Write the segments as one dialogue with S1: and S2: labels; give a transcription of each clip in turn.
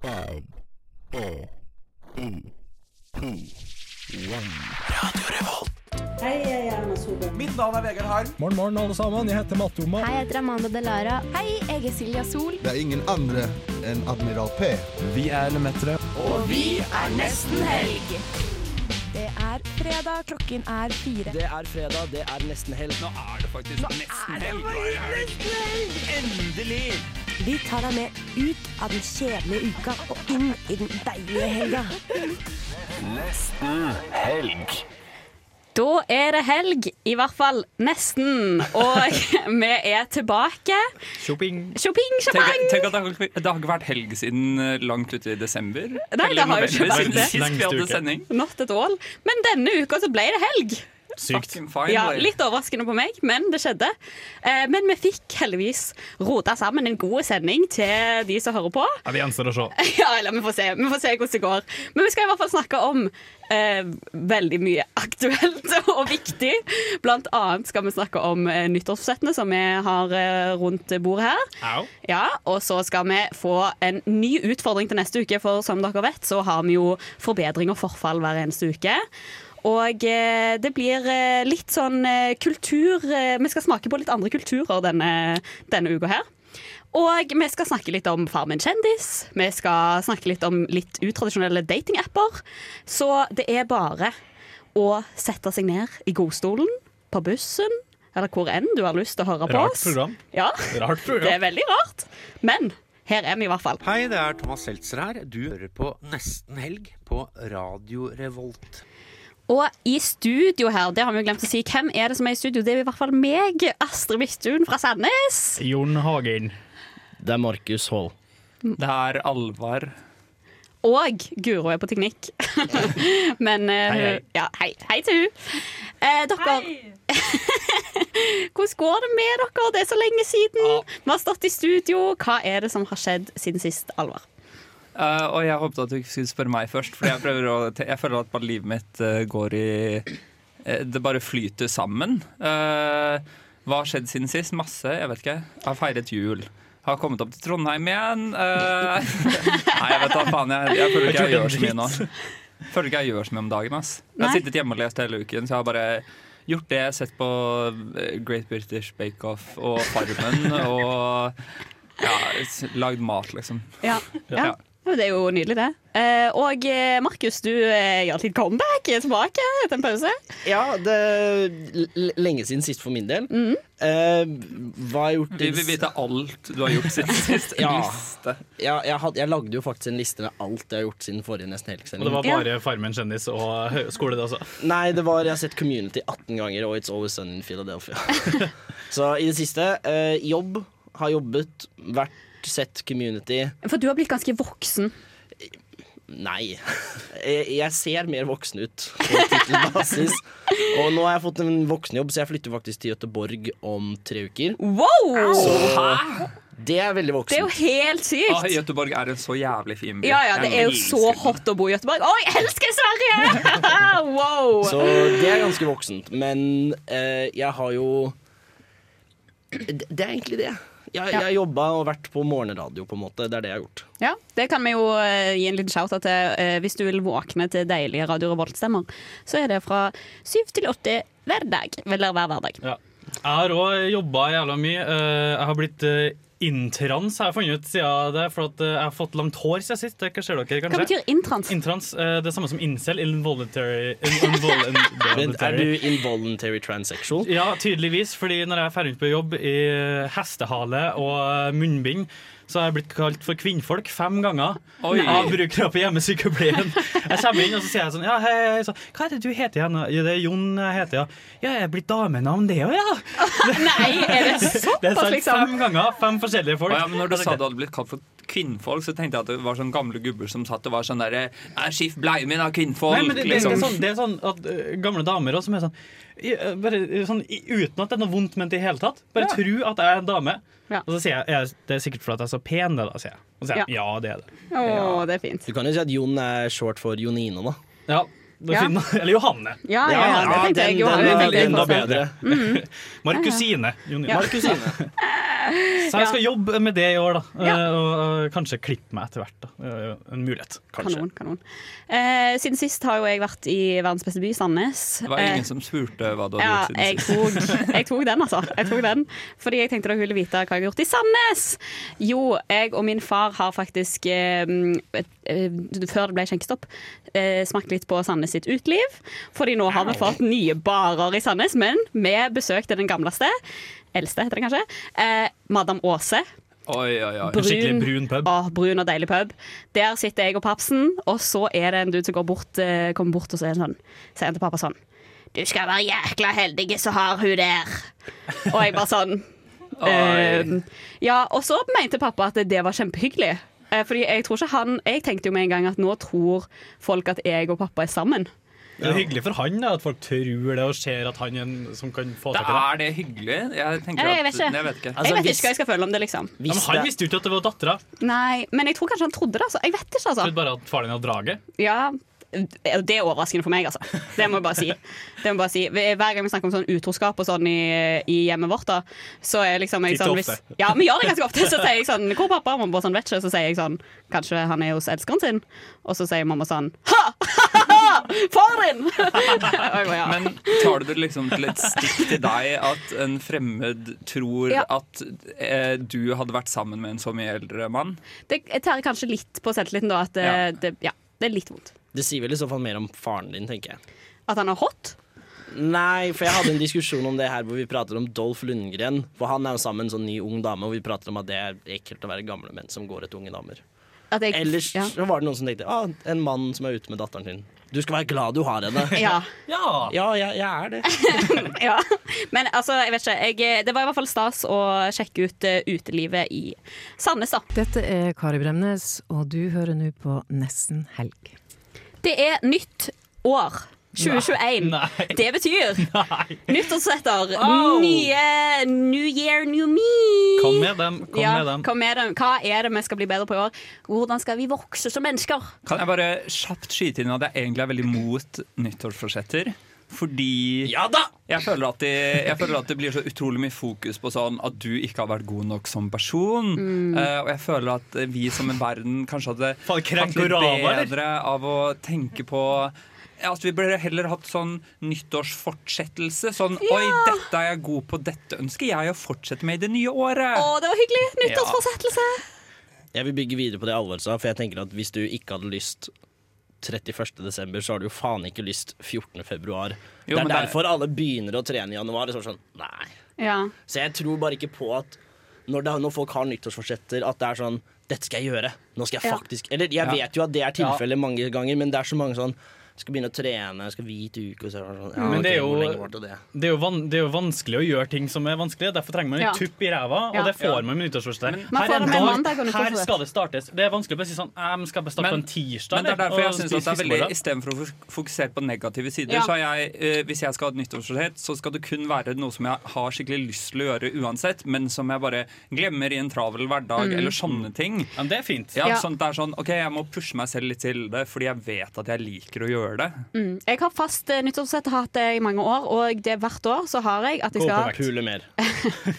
S1: N, O, U, P, 1.
S2: Hei, jeg er Erna Solberg.
S3: Mitt navn er Vegard Harm.
S4: Morgen, morgen, alle sammen. Jeg heter Matte Oma.
S5: Hei, jeg heter Amanda Delara. Hei, jeg er Silja Sol.
S6: Det er ingen andre enn Admiral P.
S4: Vi er Lemetere.
S5: Og vi er nesten helg. Det er fredag, klokken er fire.
S3: Det er fredag, det er nesten helg. Nå er det faktisk nesten helg. Endelig!
S7: Vi tar deg med ut av den kjedelige uka og inn i den deilige helga.
S8: Da er det helg, i hvert fall nesten. Og vi er tilbake.
S9: Shopping.
S8: Shopping,
S9: Tenk,
S8: shopping!
S9: tenk at det har, det har ikke vært helg siden eh, langt ute i desember. Nei,
S8: det har jo ikke vært
S9: siden
S8: det.
S9: sist vi hadde
S4: Lengste uke.
S9: sending.
S8: Not at all. Men denne uka så ble det helg.
S4: Sykt.
S9: Fucking fine,
S8: Ja,
S9: boy.
S8: Litt overraskende på meg, men det skjedde. Eh, Men vi fikk heldigvis rota sammen en god sending til de som hører på.
S4: Ja, vi gjenstår å se.
S8: Ja, eller vi får se, vi får se hvordan det går. Men vi skal i hvert fall snakke om eh, veldig mye aktuelt og viktig. Blant annet skal vi snakke om eh, nyttårsforsettene som vi har eh, rundt bordet her.
S4: Au.
S8: Ja, Og så skal vi få en ny utfordring til neste uke, for som dere vet, så har vi jo forbedring og forfall hver eneste uke. Og eh, det blir eh, litt sånn eh, kultur eh, Vi skal smake på litt andre kulturer denne, denne uka her. Og vi skal snakke litt om Farmen kjendis. Vi skal snakke litt om litt utradisjonelle datingapper. Så det er bare å sette seg ned i godstolen, på bussen, eller hvor enn du har lyst til å høre på
S4: Rart
S8: oss.
S4: program.
S8: Ja.
S4: Rart
S8: Det
S4: program.
S8: er veldig rart. Men her er vi i hvert fall.
S3: Hei, det er Thomas Seltzer her. Du hører på Nesten helg på Radio Revolt.
S8: Og i studio her, det har vi jo glemt å si, hvem er det som er i studio? Det er i hvert fall meg, Astrid Midtun fra Sandnes.
S4: Jon Hagen.
S10: Det er Markus Hall.
S9: Det er alvor.
S8: Og Guro er på teknikk. Men eh,
S4: Hei, hei.
S8: hun- Ja, hei, hei til hun. Eh, dere Hvordan går det med dere? Det er så lenge siden. Vi har stått i studio. Hva er det som har skjedd siden sist, Alvar?
S9: Eh, og jeg håpet at du ikke skulle spørre meg først, for jeg, prøver å, te- jeg føler at bare livet mitt eh, går i eh, Det bare flyter sammen. Eh, hva har skjedd siden sist? Masse, jeg vet ikke. Jeg har feiret jul. Har kommet opp til Trondheim igjen. Eh, nei, jeg vet da faen. Jeg, jeg føler ikke jeg gjør så mye nå. Føler ikke jeg gjør så mye om dagen. ass Jeg har
S8: Nei.
S9: sittet hjemme og lest hele uken, så jeg har bare gjort det. Sett på eh, Great British Bake Off og Farmen og ja, s- lagd mat, liksom.
S8: Ja. ja. men Det er jo nydelig, det. Eh, og eh, Markus, du eh, gjør et litt comeback tilbake etter en pause.
S10: Ja, det er l- lenge siden sist for min del.
S8: Mm.
S10: Eh, hva har jeg gjort
S9: Vi vil vite alt du har gjort siden sist. En
S10: Ja.
S9: liste.
S10: Ja, jeg, hadde, jeg lagde jo faktisk en liste med alt jeg har gjort siden forrige Nesten
S4: Og det
S10: Helg-sending.
S4: var bare Farmen kjendis og hø- skole, det altså. også.
S10: Nei, det var Jeg har sett Community 18 ganger, og It's Always Sun in Philadelphia. Så i det siste eh, jobb. Har jobbet, vært, sett Community.
S8: For du har blitt ganske voksen.
S10: Nei. Jeg, jeg ser mer voksen ut på tittelbasis. Og nå har jeg fått en voksenjobb, så jeg flytter faktisk til Gøteborg om tre uker.
S8: Wow!
S10: Det er veldig
S8: Det er
S10: voksent.
S8: jo helt
S9: Ah,
S8: sykt.
S9: Göteborg er en så jævlig fin by.
S8: Ja, ja, det
S9: Jeg
S8: er jo
S9: elsker
S8: så
S9: den.
S8: hot å bo i Göteborg. Å, jeg elsker Sverige! Wow!
S10: Så det er ganske voksent. Men eh, jeg har jo Det det er egentlig det. Jeg, jeg har jobba og vært på morgenradio, på en måte. Det er det jeg har gjort.
S8: Ja, Det kan vi jo eh, gi en liten shout-out til. eh, hvis du vil våkne til deilige Radio Revolt-stemmer, så er det fra syv til åtte hver dag. Eller hver hverdag.
S4: Ja. Jeg har òg jobba jævla mye. Eh, Jeg har blitt eh, intrans, har jeg funnet ut siden det. For at eh, jeg har fått langt hår siden sist. Det ser dere
S8: Hva
S4: kanskje.
S8: betyr intrans?
S4: Intrans eh, det er samme som incel. Involuntary. in- involuntary.
S10: Men er du involuntary transsexual?
S4: Ja, tydeligvis, fordi når jeg er ferdig på jobb i hestehale og munnbind, så har jeg blitt kalt for kvinnfolk fem ganger
S9: Oi.
S4: av brukere på hjemmesykepleien. Jeg kommer inn og så sier jeg sånn Ja, hei, hei, så, hva er det du heter igjen? da?» Ja, det er Jon jeg heter, ja. Ja, jeg er blitt damenavn, det òg, ja.
S8: Nei, er det
S4: Det er
S8: såpass,
S4: sant,
S8: liksom?
S4: fem ganger. Fem forskjellige folk.
S9: Å ja, men når du sa du hadde blitt kalt for kvinnfolk, så tenkte jeg at det var sånn gamle gubber som satt og var sånn derre Jeg skift bleien min av kvinnfolk,
S4: Nei, men det, det, det,
S9: liksom.
S4: er sånn, det er sånn at øh, gamle damer også, som er sånn, i- øh, bare, øh, sånn i- Uten at det er noe vondt ment i det hele tatt. Bare
S9: Ja.
S4: tro at jeg er en dame.
S8: Ja.
S4: Og så sier jeg, jeg det er sikkert fordi at jeg er så pen, det, da, sier jeg. Og så sier jeg ja, det er det.
S8: Å, det er fint.
S10: Du kan jo si at Jon er short for Jonine, da.
S4: Ja, det er
S8: Ja.
S4: fin. Eller Johanne.
S8: Ja, ja, ja, det tenkte
S10: den,
S8: jeg jo.
S10: den,
S8: Jeg
S10: er
S8: tenkte jeg
S10: enda
S8: på.
S10: bedre.
S4: Markusine. Jon-
S8: Ja.
S4: Markusine. Så jeg skal jobbe med det i år, da. Eh, Og, og kanskje klippe meg etter hvert. da. Det er jo En mulighet, kanskje.
S8: Kanon, kanon. Eh, siden sist har jo jeg vært i verdens beste by, Sandnes.
S9: Det var ingen
S8: Eh,
S9: som spurte hva du hadde
S8: ja,
S9: gjort
S8: jeg
S9: siden
S8: tok, jeg tok den, altså. Jeg tok den. Fordi jeg tenkte dere ville vite hva jeg har gjort i Sandnes. Jo, jeg og min far har faktisk, eh, et- eh, før det ble skjenkestopp, eh, smakt litt på Sandnes sitt uteliv. Fordi nå har vi fått nye barer i Sandnes, men vi besøkte den gamleste. Eldste, heter den kanskje. Eh, Madam Aase.
S9: Oi, oi, oi.
S4: En skikkelig brun pub.
S8: Åh, brun og deilig pub. Der sitter jeg og papsen, og så er det en dude som går bort, eh, kommer bort og så er han sånn, sier han til pappa sånn Du skal være jækla heldig så har hun der. Og jeg bare sånn eh, Ja, og så mente pappa at det var kjempehyggelig. Eh, Fordi jeg tror ikke han Jeg tenkte jo med en gang at nå tror folk at jeg og pappa er sammen.
S4: Det er hyggelig for han da, at folk tror det og ser at han er en som kan få
S9: Da
S4: seg til det.
S9: er det hyggelig. Jeg tenker
S8: Jeg
S9: at
S8: vet ikke.
S9: Jeg vet ikke.
S10: Altså,
S8: jeg vet
S10: hvis-
S8: ikke hva jeg skal føle om det, liksom.
S4: Ja, men
S10: Hvis
S4: han
S10: det-
S4: visste jo ikke at det var dattera.
S8: Nei, Men jeg tror kanskje han trodde det. altså Jeg vet ikke, altså.
S4: Trodde bare at faren din hadde draget.
S8: Ja, det er overraskende for meg, altså. Det må jeg bare si. Det må jeg bare si. Hver gang vi snakker om sånn utroskap og sånn i, i hjemmet vårt, da, så er liksom jeg
S4: Titt
S8: sånn
S4: og
S8: hvis,
S4: ofte.
S8: Ja, vi gjør det ganske ofte. Så sier jeg sånn 'Hvor er pappa?' Og mamma bare sånn 'Vet ikke'. Så sier jeg sånn 'Kanskje han er hos elskeren sin?' Og så sier mamma sånn 'Ha! Far din!' og jeg bare, ja.
S9: Men tar du det liksom til et stikk til deg at en fremmed tror
S8: Ja.
S9: at eh, du hadde vært sammen med en så mye eldre mann?
S8: Det tærer kanskje litt på selvtilliten, da. At det,
S9: Ja.
S8: Det, ja, det er litt vondt.
S10: Det sier vel i så fall mer om faren din, tenker jeg.
S8: At han er hot.
S10: Nei, for jeg hadde en diskusjon om det her hvor vi prater om Dolf Lundgren. For han er jo sammen med en sånn ny ung dame, og vi prater om at det er ekkelt å være gamle menn som går etter unge damer.
S8: At jeg,
S10: Ellers
S8: ja.
S10: så var det noen som tenkte ah, en mann som er ute med datteren sin. Du skal være glad du har henne.
S8: ja.
S4: Ja!
S10: Ja, jeg, jeg er det.
S8: ja. Men altså, jeg vet ikke. Jeg, det var i hvert fall stas å sjekke ut eh, utelivet i Sandnes, da.
S11: Dette er Kari Bremnes, og du hører nå på Nesten helg.
S8: Det er nytt år. 2021.
S4: Nei.
S8: Det betyr
S4: Nei.
S8: nyttårsretter.
S4: Au!
S8: Nye New Year, New Me.
S4: Kom med dem. Kom
S8: ja,
S4: med dem.
S8: Kom med dem. Hva er det vi skal bli bedre på i år? Hvordan skal vi vokse som mennesker?
S9: Kan jeg bare kjapt skyte inn at jeg egentlig er veldig mot nyttårsforsetter? Fordi
S10: Ja da!
S9: jeg føler, at det, jeg føler at det blir så utrolig mye fokus på sånn at du ikke har vært god nok som person. Eh, og jeg føler at vi som en verden kanskje hadde
S4: Faen, krenk
S9: hatt litt
S4: og rava, eller?
S9: bedre av å tenke på ja, at Vi burde heller hatt sånn nyttårsfortsettelse. Sånn Oi, dette er jeg god på, dette ønsker jeg å fortsette med i det nye året.
S8: Å, det var hyggelig! Nyttårsforsettelse.
S10: Jeg vil bygge videre på det Alvor sa, for jeg tenker at hvis du ikke hadde lyst 31. desember, så har du jo faen ikke lyst 14. februar.
S9: Jo,
S10: det er
S9: men det er-
S10: derfor alle begynner å trene i januar. Og så er det sånn, nei.
S8: Ja.
S10: Så jeg tror bare ikke på at når, det, når folk har nyttårsforsetter, at det er sånn Dette skal jeg gjøre. Nå skal jeg
S8: Ja.
S10: faktisk Eller jeg vet jo at det er tilfellet mange ganger, men det er så mange sånn skal begynne å trene, skal hvit uke og så er det sånn, ja,
S4: Men det er
S10: ok, hvor
S4: jo-
S10: lenge var det til det?
S4: Det er, jo van det er jo vanskelig å gjøre ting som er vanskelig. Derfor trenger man en
S8: Ja.
S4: tupp i ræva,
S8: Ja.
S4: og det får man med nyttårsforsett.
S8: Man får
S4: Her er
S8: det med
S4: en dag,
S8: mandag og
S4: Her
S8: nyttårsforsett.
S4: skal det startes. Det er vanskelig å bare si sånn «Nei, men Skal jeg bare
S9: Men-
S4: starte på en tirsdag?
S9: Men det er
S4: eller?»
S9: derfor jeg
S4: Og
S9: synes
S4: spise
S9: at det er veldig
S4: fiskeboller.
S9: Istedenfor å fok- fokusere på negative sider,
S8: Ja.
S9: så har jeg, eh, hvis jeg skal ha et nyttårsforsett, så skal det kun være noe som jeg har skikkelig lyst til å gjøre uansett, men som jeg bare glemmer i en travel hverdag, eller sånne ting.
S4: Ja, men det er fint.
S9: Ja,
S8: Ja.
S9: Sånn, det er sånn, ok, Jeg må pushe meg selv litt til det, fordi jeg vet at jeg liker å gjøre det.
S8: Jeg har fast eh, nyttårsforsett, har hatt det i mange år, og det hvert år så har jeg at jeg
S4: Gå
S8: skal
S4: på vekt.
S10: Pule mer.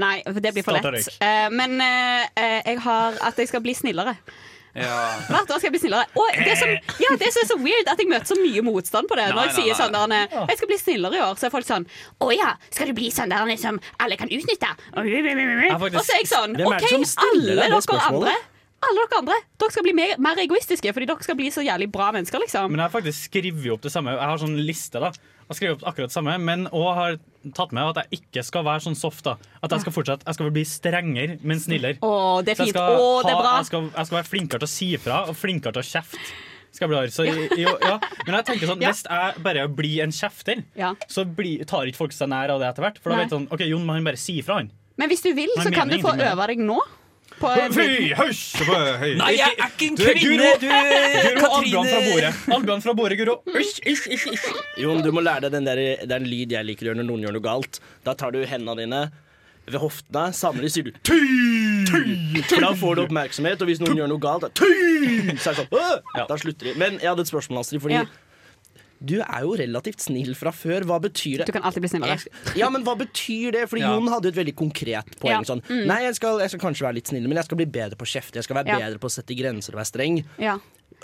S8: Nei, for det blir for
S4: Starta
S8: lett. Eh, men eh, eh, jeg har at jeg skal bli snillere.
S9: Ja.
S8: Hvert år skal jeg bli snillere. Og det som, ja, det som er så weird, at jeg møter så mye motstand på det.
S9: Nei,
S8: Når jeg
S9: nei,
S8: sier
S9: nei.
S8: sånn der, eh, Jeg skal bli snillere i år, så er folk sånn Å ja, skal du bli sånn der eh, som alle kan utnytte? Og så er jeg sånn
S10: Hvem er
S8: OK,
S10: det som stiller
S8: alle
S10: deg det
S8: dere
S10: spørsmålet?
S8: andre. Alle dere andre Dere skal bli mer, mer egoistiske fordi dere skal bli så jævlig bra mennesker, liksom.
S4: Men jeg har faktisk skrevet opp det samme. Jeg har sånn liste, da. Jeg har skrevet opp akkurat det samme, men òg har tatt med at jeg ikke skal være sånn soft. da At jeg skal fortsette Jeg skal bli strengere, men snillere.
S8: Å, det er
S4: Så jeg
S8: fint.
S4: skal,
S8: Å, det er
S4: ha-
S8: bra.
S4: Jeg skal, jeg skal være flinkere til å si ifra og flinkere til å kjefte. Skal jeg bli hard. så i- i- jo, ja. Men jeg tenker sånn,
S8: Ja.
S4: hvis jeg bare blir en kjefter,
S8: Ja.
S4: så blir- tar ikke folk seg nær av det etter hvert. For da
S8: Nei.
S4: vet sånn, ok, Jon må han bare si ifra, han.
S8: Men hvis du vil,
S4: Nei,
S8: så
S4: jeg
S8: kan du
S4: mener
S8: få
S4: ingenting med
S8: øve deg nå. På en
S4: Fy, høysj!
S9: Nei, jeg er ikke en
S4: Du er
S9: kvinne!
S4: Guro.
S9: Du er
S4: Guro, Albion fra bordet. Albion fra bordet, Guro. Hysj, hysj, hysj, hysj.
S10: Jon, du må lære deg den, der, den lyd jeg liker å gjøre når noen gjør noe galt. Da tar du hendene dine ved hoftene, samler, sier du ty, ty, For da får du oppmerksomhet, og hvis noen gjør noe galt, da ty, så er det sånn, «Åh!» da slutter de. Men jeg hadde et spørsmål, Astrid, fordi
S8: Ja.
S10: Du er jo relativt snill fra før. Hva betyr det?
S8: Du kan alltid bli snillere.
S10: Ja, men hva betyr det? Fordi
S8: Ja.
S10: Jon hadde jo et veldig konkret poeng.
S8: Ja.
S10: Sånn.
S8: Mm.
S10: Nei, jeg skal, jeg skal kanskje være litt snill, men jeg skal bli bedre på å kjefte. Jeg skal være
S8: Ja.
S10: bedre på å sette grenser og være streng.
S8: Ja.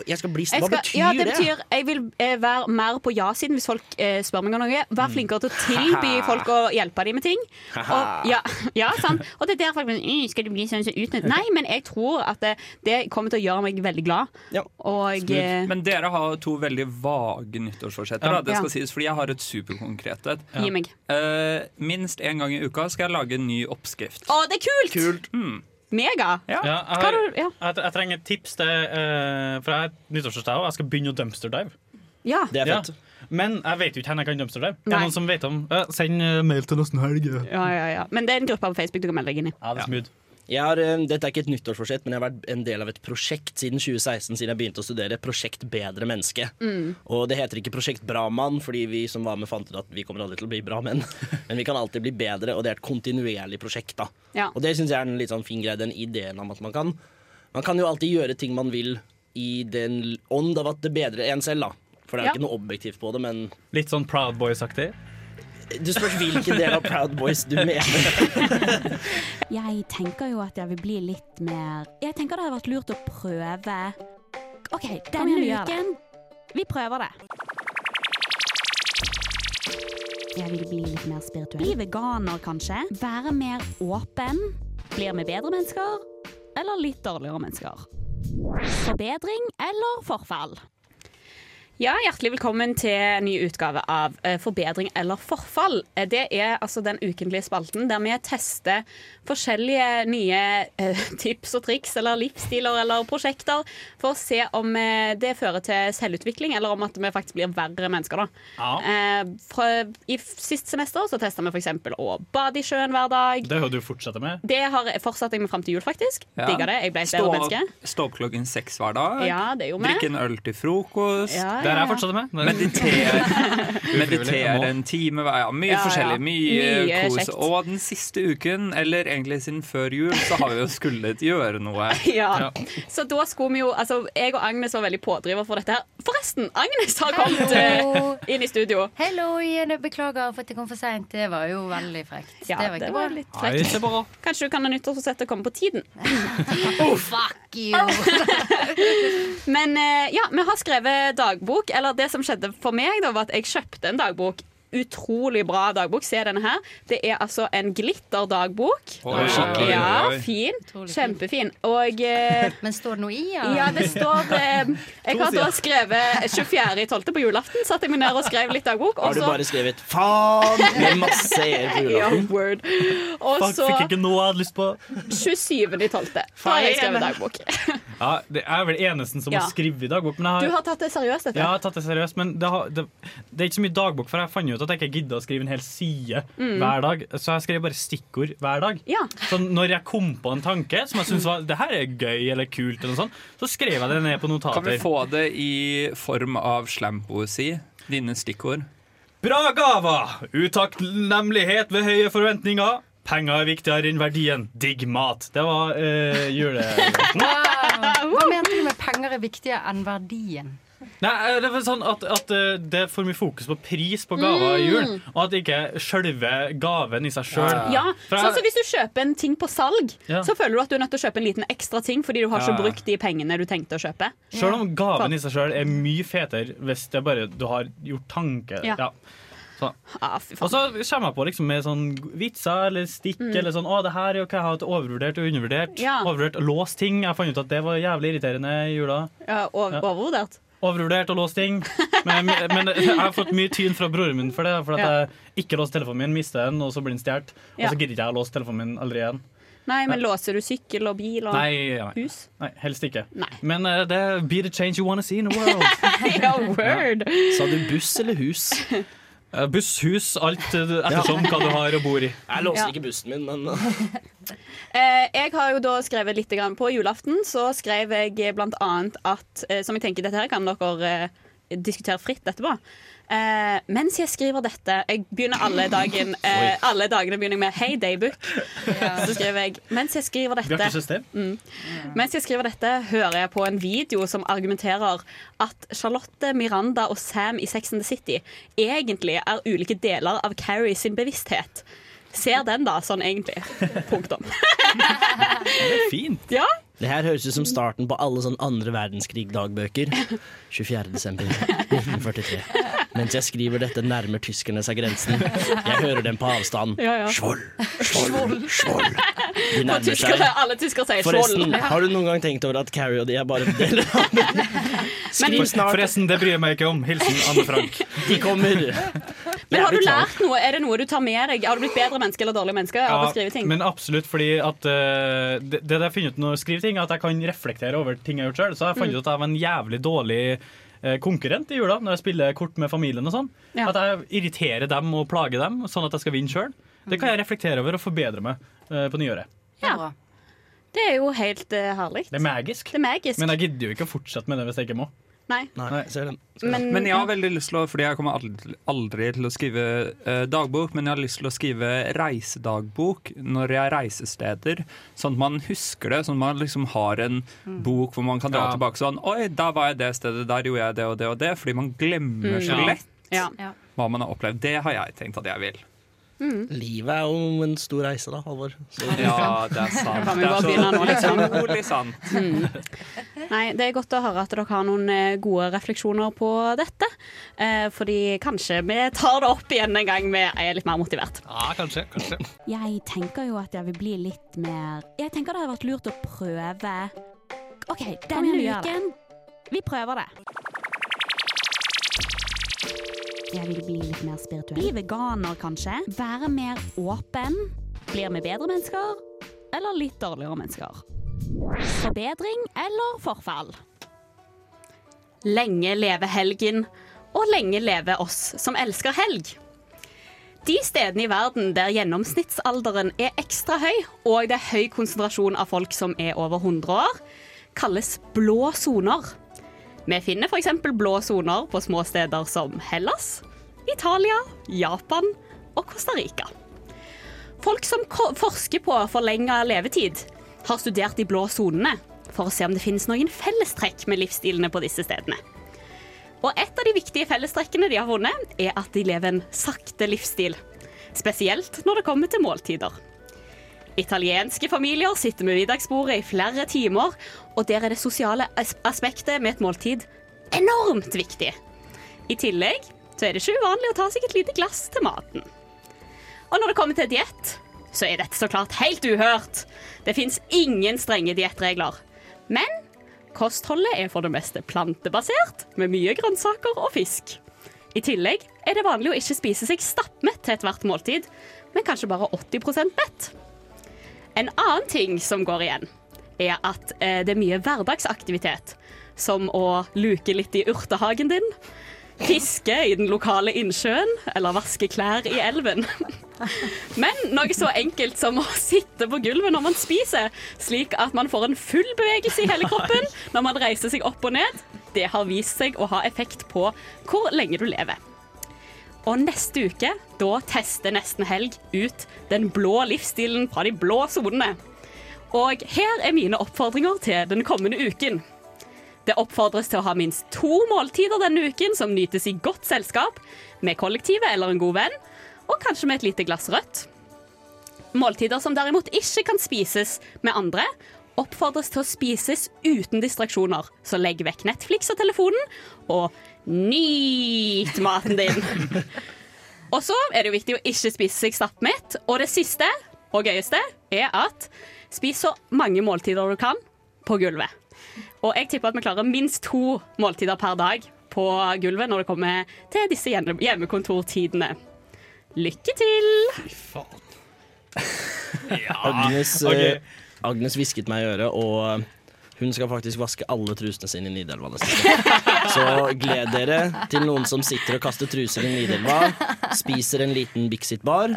S10: Jeg skal bli
S8: Jeg
S10: snill. Hva
S8: skal-
S10: betyr
S8: ja, det betyr jeg vil eh, være mer på ja-siden hvis folk eh, spør meg om noe. Vær flinkere til å tilby
S10: Haha.
S8: folk å hjelpe dem med ting. Og, ja, ja, sant? og det er der folk blir sånn, «Mm, Skal du bli sånn som utnytt? Nei, men jeg tror at det, det kommer til å gjøre meg veldig glad. Og eh,
S9: Men dere har to veldig vage nyttårsforsetter.
S8: Ja.
S9: da, Det skal
S8: Ja.
S9: sies, fordi jeg har et superkonkret et.
S8: Gi meg.
S9: Eh, minst én gang i uka skal jeg lage en ny oppskrift.
S8: Å, det er kult! Mega!
S4: Ja, jeg,
S8: Hva
S4: har,
S8: har du- ja.
S4: jeg, jeg trenger et tips til eh, For jeg er nyttårsforstad, og jeg skal begynne å dumpster dive.
S8: Ja.
S4: Ja. Men jeg vet jo ikke hvor jeg kan dumpster dive. Det
S8: Nei.
S4: er noen som vet om Eh, Send eh, mail til nesten helg.
S8: Ja, ja, ja. Men det er en gruppe på Facebook du kan melde deg inn i.
S4: Ja, det er smooth.
S10: Jeg har, eh, dette er ikke et nyttårsforsett, men jeg har vært en del av et prosjekt siden 2016, siden jeg begynte å studere Prosjekt Bedre menneske.
S12: Mm.
S10: Og det heter ikke Prosjekt Bra mann, fordi vi som var med fant ut at vi kommer aldri til å bli bra menn. Men vi kan alltid bli bedre, og det er et kontinuerlig prosjekt. da.
S12: Ja.
S10: Og det syns jeg er en litt sånn fin greie, den ideen om at man kan Man kan jo alltid gjøre ting man vil i den l- ånd av at det bedrer en selv, da. For det er
S4: Ja.
S10: jo ikke noe objektivt på det, men
S4: Litt sånn Proud Boys-aktig.
S10: du spørs hvilken del av Proud Boys du mener.
S13: Jeg tenker jo at jeg vil bli litt mer Jeg tenker det hadde vært lurt å prøve OK,
S5: Kom
S13: denne
S5: igjen, gjør det.
S13: uken Vi prøver det. Jeg vil bli litt mer spirituell. Bli veganer, kanskje. Være mer åpen. Blir vi bedre mennesker? Eller litt dårligere mennesker? Forbedring eller forfall?
S8: Ja, Hjertelig velkommen til en ny utgave av eh, Forbedring eller forfall. Eh, Det er altså den ukentlige spalten der vi tester forskjellige nye eh, tips og triks eller livsstiler eller prosjekter for å se om eh, det fører til selvutvikling, eller om at vi faktisk blir verre mennesker. da.
S4: Ja.
S8: Eh, fra, I f- sist semester så testa vi f.eks. å bade i sjøen hver dag.
S4: Det hører du fortsette med.
S8: Det har fortsatt jeg med fram til jul, faktisk.
S9: Ja.
S8: Digga det. Jeg ble et
S9: Stå
S8: bedre
S9: opp-
S8: menneske.
S9: Stå opp klokken seks hver dag.
S8: Ja, det gjorde vi.
S9: Drikke en øl til frokost.
S8: Ja, ja, Der er jeg ja. fortsatt
S4: med.
S9: Meditere, meditere en time hver ja, Mye
S8: Ja, ja.
S9: forskjellig. Mye,
S8: Mye
S9: kos.
S8: kjekt.
S9: Og den siste uken, eller egentlig siden før jul, så har vi jo skullet gjøre noe.
S8: Ja. Så da skulle vi jo altså, Jeg og Agnes var veldig pådriver for dette her. Forresten, Agnes har kommet
S14: Hallo.
S8: eh, inn i studio.
S14: Hello igjen, jeg beklager for at jeg kom for seint. Det var jo veldig frekt.
S8: Ja,
S14: det var ikke bra.
S8: litt frekt. Kanskje du kan ha nyttårsforsett og komme på tiden.
S14: Fuck you!
S8: Men eh, ja, vi har skrevet dagbok. Eller det som skjedde for meg, da, var at jeg kjøpte en dagbok. Utrolig bra dagbok. Se denne her. Det er altså en glitterdagbok.
S14: Oi, oi, oi.
S8: Ja, fin.
S14: Utrolig fin.
S8: Kjempefin. Og eh,
S14: Men står det noe i,
S8: Ja, det står eh, Jeg har da skrevet 24.12. på julaften. Satte jeg meg ned og skrev litt dagbok. og
S10: Har du
S8: så-
S10: bare skrevet 'faen' med masse E e-er på
S8: Altså- Ja,
S10: julaften?
S8: word. Og
S4: Fuck,
S8: så
S4: fikk ikke noe jeg hadde lyst på.
S8: 27.12. Da har jeg skrevet dagbok.
S4: Ja, det er vel eneste som
S8: Ja.
S4: har skrevet dagbok. Men
S8: Du
S4: jeg
S8: har tatt det seriøst, dette?
S4: Ja, jeg har tatt det seriøst, men det, har, det, det er ikke så mye dagbok, for jeg fant jo ut at jeg ikke gidder å skrive en hel side
S8: Mm.
S4: hver dag, så jeg skrev bare stikkord hver dag.
S8: Ja.
S4: Så når jeg kom på en tanke som jeg syntes var det her er gøy eller kult, eller noe sånt, så skrev jeg det ned på
S9: Kan vi
S4: notater.
S9: få det i form av slampoesi? Dine stikkord.
S4: Bra gaver! Utakknemlighet ved høye forventninger. Penger er viktigere enn verdien. Digg mat. Det var eh, jule...
S14: Hva mente du med penger er viktigere enn verdien?
S4: Nei, eh, det er sånn at, at eh, det er for mye fokus på pris på gaver i jul,
S8: Mm.
S4: og at ikke selve gaven i seg sjøl.
S8: Ja, sånn som Hvis du kjøper en ting på salg,
S4: Ja.
S8: så føler du at du er nødt til å kjøpe en liten ekstra ting fordi du har ikke
S4: Ja.
S8: brukt de pengene du tenkte å kjøpe.
S4: Sjøl om gaven i seg sjøl er mye fetere hvis det bare du har gjort tanke.
S8: Ja.
S4: Ja. Så.
S8: Ah, fy
S4: Og så kommer jeg på liksom med sånn vitser eller stikk
S8: Mm.
S4: eller sånn Å, det her er jo hva jeg har hatt overvurdert og undervurdert.
S8: Ja.
S4: Overvurdert og låst ting. Jeg fant ut at det var jævlig irriterende i jula.
S8: Ja, over,
S4: Ja.
S8: Overvurdert.
S4: Overvurdert og låst ting. Men, men jeg har fått mye tyn fra broren min for det. For at
S8: Ja.
S4: jeg ikke låste telefonen min, mister den, og så blir den stjålet.
S8: Ja.
S4: Og så gidder ikke jeg å låse telefonen min aldri igjen.
S8: Nei, men
S4: Ja.
S8: låser du sykkel og bil og
S4: Nei, ja, nei.
S8: hus?
S4: nei helst ikke.
S8: Nei.
S4: Men eh, det er be the change you wanna see in the world.
S8: ja, word.
S10: Sa du buss eller hus?
S4: Eh, Buss, hus, alt eh, ettersom hva du har og bor i.
S10: Jeg låser
S8: Ja.
S10: ikke bussen min, men
S8: Eh, jeg har jo da skrevet litt grann på julaften. Så skrev jeg blant annet at eh, Som jeg tenker, dette her kan dere eh, diskutere fritt etterpå. Eh, mens jeg skriver dette Jeg begynner alle, dagen, eh, alle dagene begynner jeg med 'Hei, Daybook'. Så skriver jeg Mens jeg skriver
S4: Bjarte
S8: dette
S4: System?
S8: mm, Mens jeg skriver dette, hører jeg på en video som argumenterer at Charlotte, Miranda og Sam i Sex and the City egentlig er ulike deler av Carrie sin bevissthet. Ser den, da, sånn egentlig. Punktum.
S10: Fint.
S8: Ja,
S10: Det her høres ut som starten på alle sånn andre verdenskrig-dagbøker. 24. desember 1943. Mens jeg skriver dette, nærmer tyskerne seg grensen. Jeg hører dem på avstand.
S8: ja, ja.
S10: Skjold,
S8: Skjold.
S10: de
S8: Og
S10: nærmer seg.
S8: tyskere, alle tyskere sier
S10: Forresten,
S8: skjold.
S10: har du noen gang tenkt over at Carrie og de er bare en del av Skriv snart.
S4: Forresten, det bryr jeg meg ikke om. Hilsen Anne Frank.
S10: De kommer.
S8: Men har du
S4: Jævlig klar.
S8: lært noe? Er det noe du tar med deg? Har du blitt bedre menneske eller dårlig menneske av å skrive ting?
S4: men absolutt, fordi at eh, det, det jeg har funnet ut når jeg skriver ting, er at jeg kan reflektere over ting jeg har gjort sjøl. Så jeg fant
S8: Mm.
S4: ut at jeg var en jævlig dårlig eh, konkurrent i jula når jeg spiller kort med familien og sånn.
S8: Ja.
S4: At jeg irriterer dem og plager dem, sånn at jeg skal vinne sjøl. Det kan
S8: Mm.
S4: jeg reflektere over og forbedre meg eh, på nyåret.
S8: Ja. Det er jo helt eh, herlig.
S4: Det er magisk.
S8: Det er magisk.
S4: Men jeg gidder jo ikke å fortsette med det hvis jeg ikke må.
S8: Nei.
S9: Men,
S8: Men-
S9: jeg har veldig lyst til å Fordi jeg kommer aldri, aldri til å skrive eh, dagbok, men jeg har lyst til å skrive reisedagbok når jeg reiser steder. Sånn at man husker det, sånn at man liksom har en
S12: Mm.
S9: bok hvor man kan dra
S12: Ja.
S9: tilbake sånn Oi, da var jeg det stedet, der gjorde jeg det og det og det. Fordi man
S12: Mm.
S9: glemmer så
S12: Ja.
S9: lett
S8: Ja.
S9: hva man har opplevd. Det har jeg tenkt at jeg vil.
S10: Livet er jo en stor reise, da, Halvor. Så-
S9: Ja, det er sant.
S8: Kan vi bare begynne nå, liksom?
S9: utrolig sant.
S8: Mm. Nei, det er godt å høre at dere har noen eh, gode refleksjoner på dette. Eh, fordi kanskje vi tar det opp igjen en gang vi er litt mer motivert.
S4: Ja, kanskje. kanskje.
S13: Jeg tenker jo at jeg vil bli litt mer Jeg tenker det hadde vært lurt å prøve OK,
S8: Kom igjen, vi
S13: denne
S8: gjør det.
S13: uken Vi prøver det. Jeg vil bli litt mer spirituell. Bli veganer, kanskje. Være mer åpen. Blir vi bedre mennesker? Eller litt dårligere mennesker? Forbedring eller forfall?
S8: Lenge leve helgen, og lenge leve oss som elsker helg. De stedene i verden der gjennomsnittsalderen er ekstra høy, og det er høy konsentrasjon av folk som er over 100 år, kalles blå soner. Vi finner f.eks. blå soner på små steder som Hellas, Italia, Japan og Costa Rica. Folk som ko- forsker på forlenga levetid, har studert de blå sonene for å se om det finnes noen fellestrekk med livsstilene på disse stedene. Og et av de viktige fellestrekkene de har funnet, er at de lever en sakte livsstil. Spesielt når det kommer til måltider. Italienske familier sitter med middagsbordet i flere timer, og der er det sosiale as- aspektet med et måltid enormt viktig. I tillegg så er det ikke uvanlig å ta seg et lite glass til maten. Og når det kommer til diett, så er dette så klart helt uhørt. Det fins ingen strenge diettregler. Men kostholdet er for det meste plantebasert, med mye grønnsaker og fisk. I tillegg er det vanlig å ikke spise seg stappmett til ethvert måltid, men kanskje bare 80 mett. En annen ting som går igjen, er at eh, det er mye hverdagsaktivitet. Som å luke litt i urtehagen din, fiske i den lokale innsjøen eller vaske klær i elven. Men noe så enkelt som å sitte på gulvet når man spiser, slik at man får en full bevegelse i hele kroppen når man reiser seg opp og ned, det har vist seg å ha effekt på hvor lenge du lever. Og neste uke, da tester Nesten Helg ut den blå livsstilen fra de blå sonene. Og her er mine oppfordringer til den kommende uken. Det oppfordres til å ha minst to måltider denne uken som nytes i godt selskap, med kollektivet eller en god venn, og kanskje med et lite glass rødt. Måltider som derimot ikke kan spises med andre, oppfordres til å spises uten distraksjoner. Så legg vekk Netflix og telefonen, og nyt maten din. Og så er det jo viktig å ikke spise seg stappmett. Og det siste og gøyeste er at spis så mange måltider du kan på gulvet. Og jeg tipper at vi klarer minst to måltider per dag på gulvet når det kommer til disse hjemme- hjemmekontortidene. Lykke til!
S10: Agnes, eh, Agnes hvisket meg i øret, og Hun skal faktisk vaske alle trusene sine i Nidelva neste gang. Så gled dere til noen som sitter og kaster truser i Nidelva, spiser en liten Bixit-bar,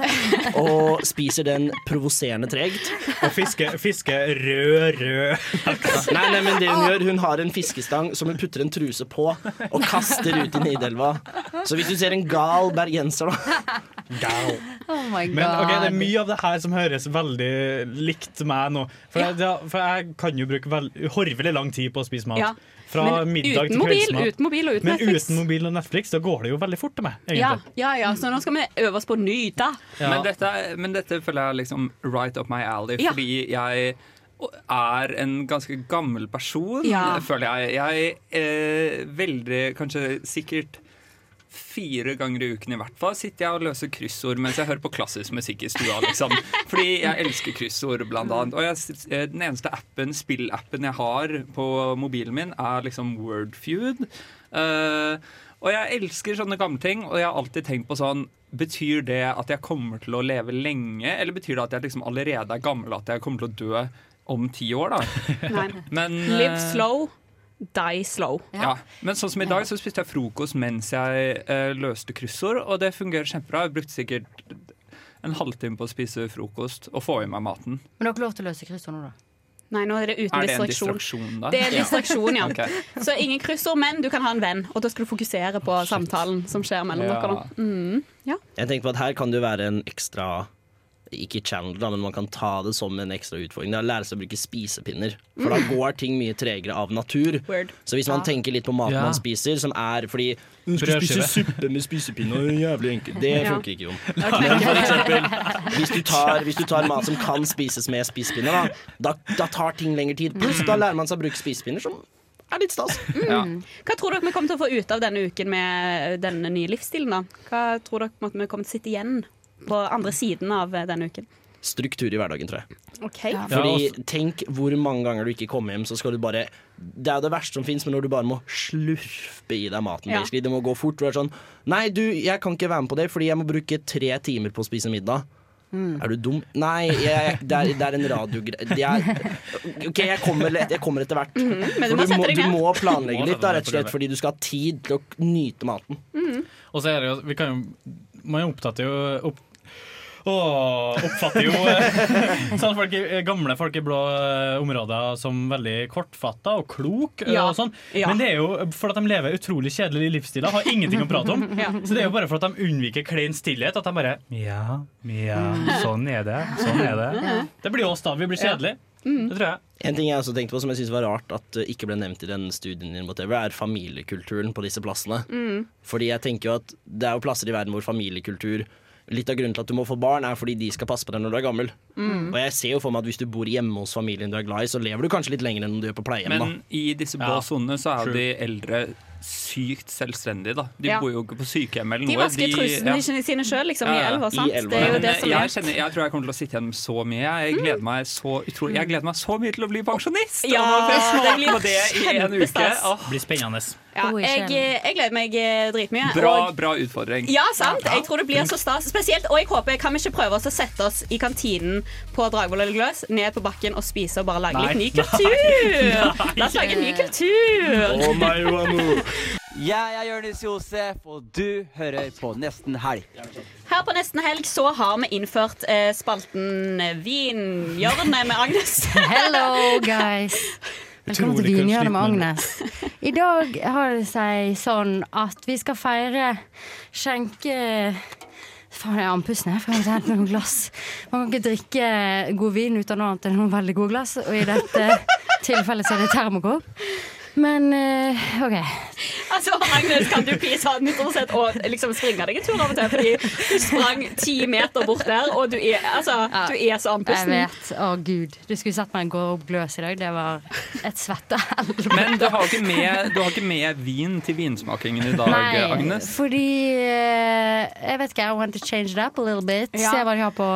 S10: og spiser den provoserende tregt.
S4: Og fiske, fiske rød, rød
S10: Nei, nei, men det hun gjør, hun har en fiskestang som hun putter en truse på, og kaster ut i Nidelva. Så hvis du ser en gal bergenser, da
S4: Gal.
S14: Oh my god.
S4: Men ok, Det er mye av det her som høres veldig likt meg nå. For, jeg, ja, for jeg kan jo bruke vel, horvelig lang tid på å spise mat.
S8: Ja.
S4: Fra
S8: Men
S4: middag
S8: uten
S4: til
S8: mobil,
S4: kveldsmat.
S8: uten mobil og uten
S4: Men
S8: Netflix.
S4: uten mobil og Netflix, da går det jo veldig fort til meg.
S8: Ja,
S4: egentlig.
S8: ja, ja, så nå skal vi øve oss på å nyte.
S9: Men, dette, men dette føler jeg liksom right up my alley,
S8: Ja.
S9: fordi jeg er en ganske gammel person,
S8: Ja.
S9: føler jeg. Jeg er veldig, kanskje sikkert fire ganger i uken i hvert fall, sitter jeg og løser kryssord mens jeg hører på klassisk musikk i stua, liksom. Fordi jeg elsker kryssord, blant annet. Og jeg, sit- eh, den eneste appen, spillappen jeg har på mobilen min, er liksom Wordfeud. Eh, og jeg elsker sånne gamle ting, og jeg har alltid tenkt på sånn Betyr det at jeg kommer til å leve lenge, eller betyr det at jeg liksom allerede er gammel, at jeg kommer til å dø om ti år, da?
S8: Nei.
S9: Men,
S8: Live
S9: eh,
S8: slow, die slow.
S9: ja. Men sånn som i dag så spiste jeg frokost mens jeg eh, løste kryssord, og det fungerer kjempebra. Jeg brukte sikkert en halvtime på å spise frokost og få i meg maten.
S14: Men dere har lov til å løse kryssord nå, da?
S8: Nei, nå er det uten
S9: Er det en
S8: distraksjon.
S9: distraksjon, da?
S8: Det er
S9: Ja.
S8: distraksjon, ja.
S9: Ok.
S8: Så ingen kryssord, men du kan ha en venn. Og da skal du fokusere på samtalen som skjer mellom
S10: Ja.
S8: dere. nå. Mm, ja.
S10: Jeg tenker på at her kan det jo være en ekstra ikke channel, da, men man kan ta det som en ekstra utfordring. Det er å lære seg å bruke spisepinner. For da
S8: Mm.
S10: går ting mye tregere av natur.
S8: Word.
S10: Så hvis man
S8: Ja.
S10: tenker litt på maten
S4: Ja.
S10: man spiser, som er fordi Du skal
S4: Brødskive.
S10: spise suppe med spisepinne, og det er jævlig enkelt. Det
S4: Ja.
S10: funker ikke, Jon. Men for eksempel, hvis du, tar, hvis du tar mat som kan spises med spisepinner, da, da, da tar ting lengre tid. Pluss da lærer man seg å bruke spisepinner, som er litt stas.
S8: Mm. Hva tror dere vi kommer til å få ut av denne uken med denne nye livsstilen? da? Hva tror dere at vi kommer til å sitte igjen på andre siden av denne uken?
S10: Struktur i hverdagen, tror jeg.
S8: Ok.
S10: Fordi
S4: altså-
S10: Tenk hvor mange ganger du ikke kommer hjem, så skal du bare Det er jo det verste som fins, men når du bare må slurpe i deg maten.
S8: Ja.
S10: basically. Det må gå fort. Du er sånn Nei, du, jeg kan ikke være med på det, fordi jeg må bruke tre timer på å spise middag.
S4: Hmm.
S10: Er du dum? Nei, jeg, det, er, det er en radiogreie jeg, OK, jeg kommer, lett- jeg kommer etter hvert.
S4: men Mhm. du
S10: For
S4: må sette
S10: må,
S4: deg
S10: du
S4: ned.
S10: må planlegge
S4: Må
S10: litt,
S4: sette
S10: da,
S4: deg
S10: rett og slett,
S4: ned.
S10: fordi du skal ha tid til å nyte maten.
S4: Og så er det jo Vi kan jo Man er opptatt jo opp, Åh, oppfatter jo eh, sånn folk i, eh, gamle folk i blå eh, områder som veldig kortfatta og klok. eh,
S12: Ja.
S4: Og sånn.
S12: Ja.
S4: Men det er jo fordi de lever utrolig kjedelige livsstiler, har ingenting å prate om.
S12: Ja.
S4: Så det er jo bare fordi de unnviker klein stillhet at de bare Ja, ja, sånn er det. Sånn er det. Det blir oss da. Vi blir kjedelige. Det tror jeg.
S10: En ting jeg også tenkte på som jeg synes var rart at eh, ikke ble nevnt i den studien din, whatever, er familiekulturen på disse plassene.
S12: Mm.
S10: Fordi jeg tenker jo at det er jo plasser i verden hvor familiekultur Litt av grunnen til at du må få barn, er fordi de skal passe på deg når du er gammel.
S9: Mm.
S10: Og jeg ser jo for meg at hvis du bor hjemme hos familien du er glad i, så lever du kanskje litt lenger enn du gjør på pleiehjem.
S9: Men i disse blå
S10: Ja.
S9: sonene så er
S10: True.
S9: jo de eldre sykt selvstendige, da. De
S8: Ja.
S9: bor jo ikke på sykehjem eller
S8: De
S9: noe.
S8: vasker trusene
S9: ja.
S8: sine sjøl, liksom,
S9: Ja,
S8: i
S9: ja.
S8: elva. sant? Det er jo det
S9: Men eh,
S8: som
S9: jeg,
S8: er
S9: kjenner, jeg tror jeg kommer til å sitte igjen med så mye. Jeg gleder meg så utrolig Jeg gleder meg så mye til å bli pensjonist!
S8: Ja,
S9: og nå får jeg
S8: det
S9: smake
S8: blir
S9: på det i en uke.
S8: kjempestas.
S9: Åh.
S4: Blir spennende.
S8: ja, jeg, jeg gleder meg eh, dritmye.
S9: Bra,
S8: og-
S9: bra utfordring.
S8: Ja, sant. Jeg tror det blir så stas. Spesielt, og jeg håper Kan vi ikke prøve oss å sette oss i kantinen på Dragvoll eller Gløs, ned på bakken og spise og bare lage
S10: Nei.
S8: litt ny
S10: Nei.
S8: kultur? La oss lage en ny kultur.
S15: Jeg er Jonis Josef, og du hører på Nesten Helg.
S8: Her på Nesten Helg så har vi innført eh, spalten Vinhjørnet med Agnes.
S14: Hello, guys. Velkommen til
S8: Utrolig
S14: Vinhjørnet med
S8: kanskje litt
S14: Agnes. I dag har det seg sånn at vi skal feire skjenke... Faen, jeg er andpusten. Jeg får hente noen glass. Man kan ikke drikke god vin uten noe annet enn noen veldig gode glass, og i dette tilfellet så er det termokopp. Men eh, OK.
S8: Altså, Agnes, kan du please ha den introdusert og liksom springe deg en tur av og til? Fordi du sprang ti meter bort der, og du er, altså, du er så
S14: Jeg
S8: andpusten.
S14: vet. Å, gud. Du skulle sett meg gå opp gløs i dag. Det var et svettehelvete.
S9: Men du har, ikke med, du har ikke med vin til vinsmakingen i dag, Agnes.
S14: fordi eh, Jeg vet ikke, I want to change it up a little bit.
S8: Ja.
S14: Se hva de har på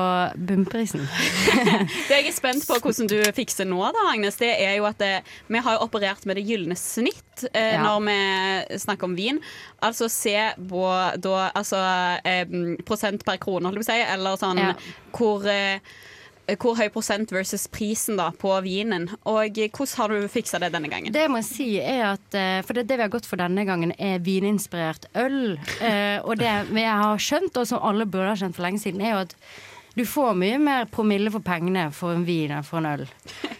S14: bunnprisen.
S8: Det jeg er spent på hvordan du fikser nå, da, Agnes, det er jo at eh, vi har jo operert med det gylne snitt eh,
S14: Ja.
S8: når vi snakker om vin. Altså se på da altså eh, prosent per krone, holdt jeg på å si, eller sånn
S14: Ja.
S8: hvor eh, hvor høy prosent versus prisen da på vinen. Og eh, hvordan har du fiksa det denne gangen?
S14: Det jeg må si er at eh, For det, det vi har gått for denne gangen, er vininspirert øl. Eh, og det vi har skjønt, og som alle burde ha skjønt for lenge siden, er jo at du får mye mer promille for pengene for en vin enn for en øl.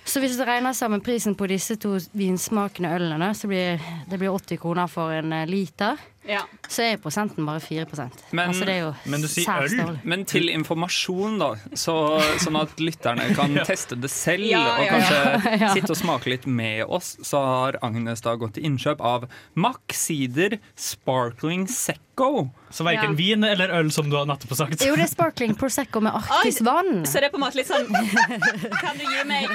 S14: Så hvis du regner sammen prisen på disse to vinsmakende ølene, da, så blir det blir 80 kroner for en eh, liter.
S8: Ja.
S14: Så er prosenten bare 4
S9: Men,
S14: altså, det er jo
S9: men du sier
S14: særs
S9: øl?
S14: dårlig.
S9: Men til informasjon, da. Så, sånn at lytterne kan teste det selv
S14: Ja,
S9: og
S14: ja,
S9: kanskje
S14: ja. Ja.
S9: sitte og smake litt med oss, så har Agnes da gått til innkjøp av Mack Sider Sparkling Secco.
S4: Så verken vin eller øl, som du har nettopp har sagt.
S14: Jo, det er sparkling prosecco med arktisk vann.
S8: Så det er på en måte litt sånn Kan du gi meg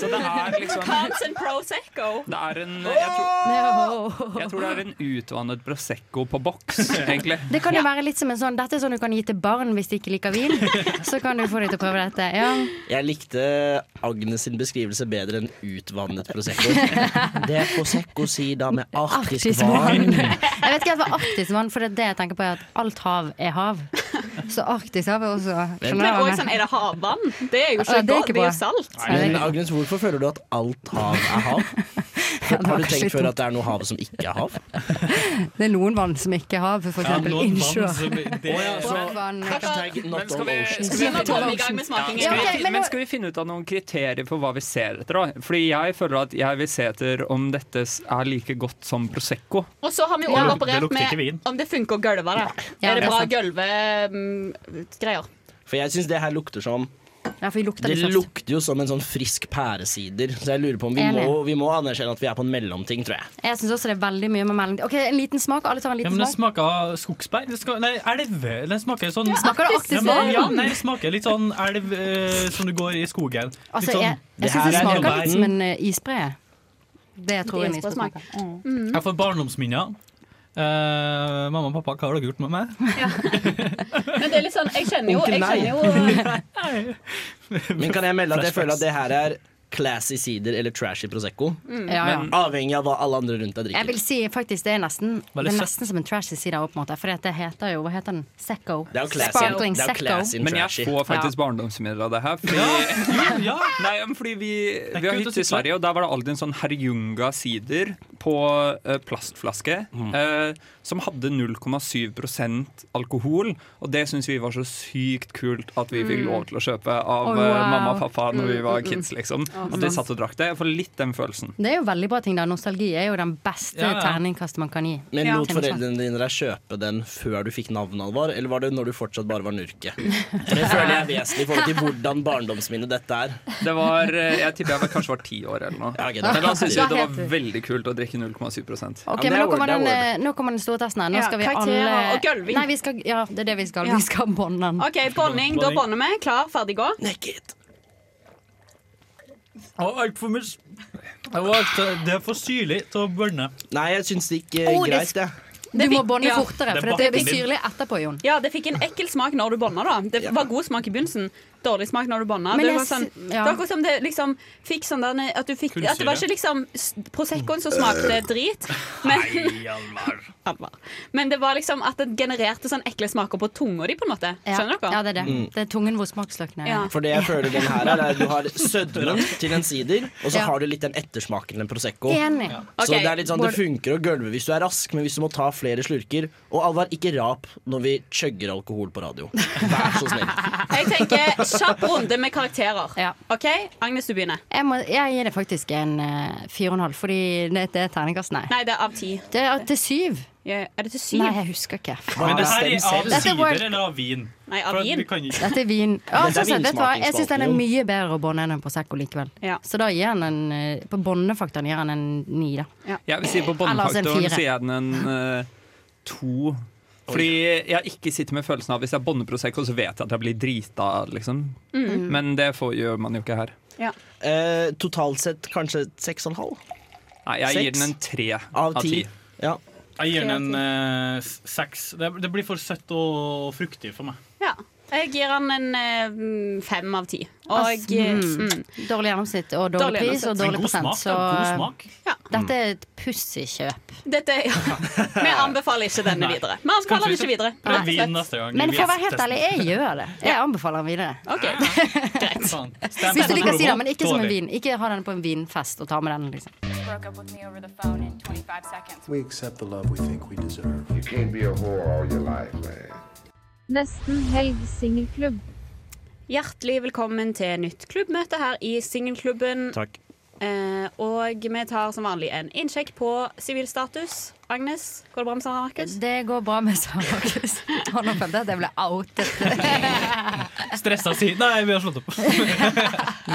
S9: Så det er liksom
S8: Cans and Prosecco?
S9: Det er en jeg tror, jeg tror det er en utvannet Prosecco på boks, egentlig.
S14: Det kan jo være litt som en sånn Dette er sånn du kan gi til barn hvis de ikke liker vin. Så kan du få dem til å prøve dette. Ja.
S10: Jeg likte Agnes sin beskrivelse bedre enn utvannet prosecco. Det er prosecco-sida med arktisk
S14: Arktisk vann.
S10: vann.
S14: Jeg vet ikke helt hva arktisk vann For det er det jeg tenker på, er at alt hav er hav. Så arktisk hav er også
S8: Men
S14: skjønner du hva
S8: også
S14: jeg
S8: sånn,
S14: mener?
S8: er det havvann? Det er jo ikke
S14: Ja, det er
S8: godt,
S14: ikke
S8: det er
S14: bra.
S8: jo salt.
S10: Men Agnes, hvorfor føler du at alt hav er hav? Har du tenkt før at det er noe hav som ikke er hav?
S14: Det er noen vann som ikke er hav, for
S10: Ja,
S14: eksempel
S10: noen vann som-
S14: innsjøer.
S10: det-
S14: Brannvann.
S10: not
S9: skal
S10: all
S9: vi-
S10: oceans.
S9: skal vi-
S10: Not all oceans.
S9: Ja,
S14: Ja,
S9: skal
S14: ok,
S9: vi-
S14: men
S9: Men
S14: nå-
S9: skal vi finne ut av noen kriterier for hva vi ser etter? da? Fordi jeg føler at jeg vil se etter om dette s- er like godt som Prosecco.
S8: Og så har vi
S9: Det
S8: òg
S9: luk- det
S8: operert
S9: lukter ikke vin.
S8: med om det funker å gulve det.
S10: Ja,
S8: Er
S10: det
S8: det
S10: er
S8: bra mm,
S10: sant.
S8: gulvegreier?
S10: For jeg syns det her lukter som
S14: Ja, for vi lukter
S10: Det
S14: litt først.
S10: lukter jo som en sånn frisk pæresider, så jeg lurer på om vi
S14: Enig.
S10: må, vi må anerkjenne at vi er på en mellomting, tror jeg.
S14: Jeg syns også det er veldig mye med mellom... Ok, En liten smak. Alle tar en
S4: Ja,
S14: liten
S4: men det
S14: smak.
S4: smaker skogsbær. Det skal, nei, elve. Det smaker sånn
S14: Ja, Smaker det arktisk
S4: Ja, men- Ja,
S14: vann?
S4: nei, det smaker litt sånn elv eh, som du går i skogen. Litt
S14: Altså,
S4: sånn,
S14: jeg, jeg syns det smaker litt som en eh, isbre. Det tror jeg en isbre smaker. sånn-
S4: Jeg får barndomsminner. Eh, mamma og pappa, hva har dere gjort med meg?
S8: Men det er litt sånn, jeg kjenner jo,
S10: Onkel
S8: jeg
S10: nei.
S8: kjenner jo eh,
S10: Men kan jeg melde at jeg
S4: Flashbacks.
S10: føler at det her er classy sider eller trashy Prosecco?
S14: Mm. Ja, ja.
S10: Men Avhengig av hva alle andre rundt deg
S14: Jeg
S10: drikker.
S14: vil si faktisk det er nesten
S10: Veldig
S14: Det er
S10: søtt.
S14: nesten som en trashy side òg, på en måte. For det heter jo Hva heter den? Secco.
S10: Det er jo classy.
S14: Sparkling
S10: Det er jo classy
S14: Secco.
S10: and
S9: Men jeg
S10: trashy.
S9: får faktisk
S14: Ja.
S9: barndomsminner av det her. Fordi, Nei, men fordi vi, vi har
S4: kult å
S9: hytte i
S4: sykle.
S9: Sverige, og der var det alltid en sånn Herjunga sider på eh, plastflaske eh, som hadde 0,7 alkohol. Og det syns vi var så sykt kult at vi fikk
S4: Mm.
S9: lov til å kjøpe av eh,
S14: Oh, wow.
S9: mamma og pappa når vi
S14: Mm, mm,
S9: var
S14: mm.
S9: kids, liksom.
S14: Ja,
S9: At vi
S14: sant.
S9: satt og drakk det. Jeg får litt den følelsen.
S14: Det er jo veldig bra ting, da. Nostalgi er jo den beste
S10: Ja, ja.
S14: terningkastet man kan gi.
S10: Men
S14: Ja.
S10: lot foreldrene dine deg kjøpe den før du fikk navnet, Alvar? Eller var det når du fortsatt bare var nurke? For det føler jeg er vesentlig i forhold til hvordan barndomsminnet dette er.
S9: Det var, eh, jeg tipper jeg var, kanskje var ti år eller noe.
S10: ok, da.
S9: Men da syns vi
S14: Da
S9: det
S14: heter
S9: var veldig kult å drikke 0,7
S14: Ok, men nå kommer, den, eh, nå kommer den store testen her. Nå
S8: Ja,
S14: skal vi
S8: karakterer
S14: alle
S8: og gulving.
S14: Nei, vi skal, ja, det er det vi skal.
S8: Ja.
S14: Vi skal bånde den.
S8: OK, bonning. Da bånder vi. Klar, ferdig, gå.
S4: Å, altfor mye s- Det var alt- eh, Det er for syrlig til å børne.
S10: Nei, jeg syns det gikk
S4: eh,
S14: Oh, det-
S4: greit, jeg.
S14: Du må
S8: fikk-
S14: bånde
S8: ja.
S14: fortere,
S4: Det
S14: for det
S4: blir
S14: blir syrlig etterpå, Jon.
S8: Ja, det fikk en ekkel smak når du bånda, da. Det var god smak i begynnelsen. Dårlig smak når du bånda.
S14: Men
S8: Det,
S14: jeg
S8: var sånn,
S14: sy-
S8: det
S14: ja.
S8: var akkurat som det liksom fikk sånn der At, du fikk,
S14: Kullsyre.
S8: at det var ikke liksom s- Proseccoen som smakte
S4: Øh.
S8: drit, men, Alvar. men det var liksom at det genererte sånn ekle smaker på tunga di, på en måte. Skjønner dere?
S14: Ja, det er det.
S10: Mm.
S14: Det er tungen hvor smaksløkene
S8: Ja.
S10: For det jeg føler den her er, er at du har sødmen til en sider, og så
S14: Ja.
S10: har du litt den ettersmaken til en Prosecco.
S14: Enig. Ja.
S10: Så
S14: Ok,
S10: det er litt sånn, det
S14: Bård-
S10: funker å gølve hvis du er rask, men hvis du må ta flere slurker Og Alvar, ikke rap når vi chugger alkohol på radio. Vær så snill.
S8: Jeg tenker kjapp runde med karakterer. OK? Agnes, du begynner.
S14: Jeg, må, jeg gir det faktisk en eh, fire og en halv, fordi det, det er terningkast, nei.
S8: Nei, det er av ti.
S14: Det er til syv.
S8: Ja, Er det til syv?
S14: Nei, jeg husker ikke.
S4: Men det her er av
S14: Dette er
S4: sider
S14: World-
S4: eller av vin?
S8: Nei, av
S4: For
S8: vin.
S4: vi kan ikke-
S14: Dette er vin. Ja,
S4: Dette er
S14: sånn sett, vet du hva? Jeg syns den er
S4: vinsmakingsspalten,
S14: mye bedre å bånde enn en Prosecco likevel. Så da gir han en eh, På bondefaktoren gir han en ni, da.
S9: Jeg vil si på
S14: Eller altså en
S9: bondefaktoren
S14: fire.
S9: sier jeg den en eh, to. Fordi jeg ikke sitter med følelsen av hvis jeg bonder Prosecco, så vet jeg at jeg blir drita, liksom.
S10: Mm.
S9: Men det får, gjør man jo ikke her.
S10: Eh, totalt sett kanskje seks og en halv?
S9: Nei, jeg gir
S10: Seks?
S9: den en tre
S10: Av ti. Ja.
S4: Jeg gir den en eh, s- seks. Det, det blir for søtt og fruktig for meg.
S8: Ja. Jeg gir han en eh, fem av ti. Og
S14: Altså,
S8: eh,
S14: mm.
S8: mm.
S14: Dårlig gjennomsnitt og dårlig,
S8: Dårlig
S14: pris og
S8: gjennomsnitt.
S14: dårlig
S8: Men god
S14: prosent.
S8: smak, Mm. da. God
S14: så-
S8: smak. Ja.
S14: Dette er et pussig kjøp.
S8: Dette, ja. Vi anbefaler ikke denne videre. Vi anbefaler den ikke videre.
S4: Prøv vin neste gang.
S14: Men for å være helt ærlig, jeg gjør det. Jeg anbefaler den videre.
S8: Greit.
S14: Hvis du liker å si det, men ikke som en vin. Ikke ha den på en vinfest og ta med den, liksom.
S12: Broke up with me over the phone in 25 seconds.
S16: We accept the love we think we deserve.
S17: You can't be a whore all your life, man.
S18: Nesten helg singelklubb.
S8: Hjertelig velkommen til nytt klubbmøte her i Singelklubben.
S10: Takk.
S8: Eh, og vi tar som vanlig en innsjekk på sivilstatus. Agnes, går det bra med Sara Markus?
S14: Det går bra med Sara Markus. Hold opp at jeg ble outet.
S4: Stressa si Nei, vi har slått opp.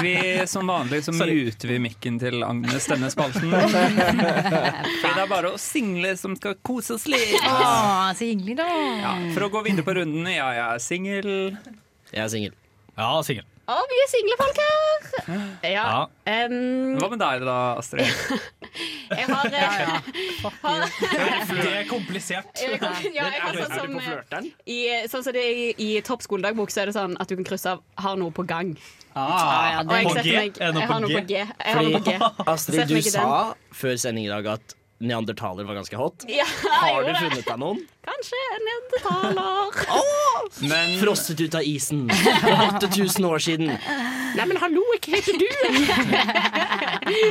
S9: Vi, som vanlig så muter vi mikken til Agnes denne spalten. For det er bare oss single som skal kose oss litt.
S14: Å, så hyggelig, da.
S9: Ja, for å gå videre på runden, ja, jeg er singel.
S10: Jeg er singel.
S4: Ja, singel.
S8: Å, vi er single folk her! Ja. Em,
S9: Hva med deg da, Astrid?
S8: jeg har, eh, har
S4: Det er komplisert.
S8: Ja, jeg har sånn som, eh,
S9: flørteren?
S8: I, sånn som det er i, i Topp skoledagbok, så er det sånn at du kan krysse av 'har noe på gang'.
S4: Ah,
S8: Og sånn jeg
S10: på
S8: setter
S10: G?
S8: meg-
S10: Er det noe
S8: jeg har
S10: på
S8: noe på
S10: G?
S8: G. Jeg har noe på G. Setter
S10: Astrid, du
S8: meg i den.
S10: sa før sending i dag at neandertaler var ganske hot.
S8: Ja,
S10: Har
S8: jeg
S10: du
S8: gjorde det.
S10: funnet deg noen?
S8: Kanskje en neandertaler.
S10: Frosset ut av isen for 8000 år siden.
S8: Nei, men hallo, hva heter du?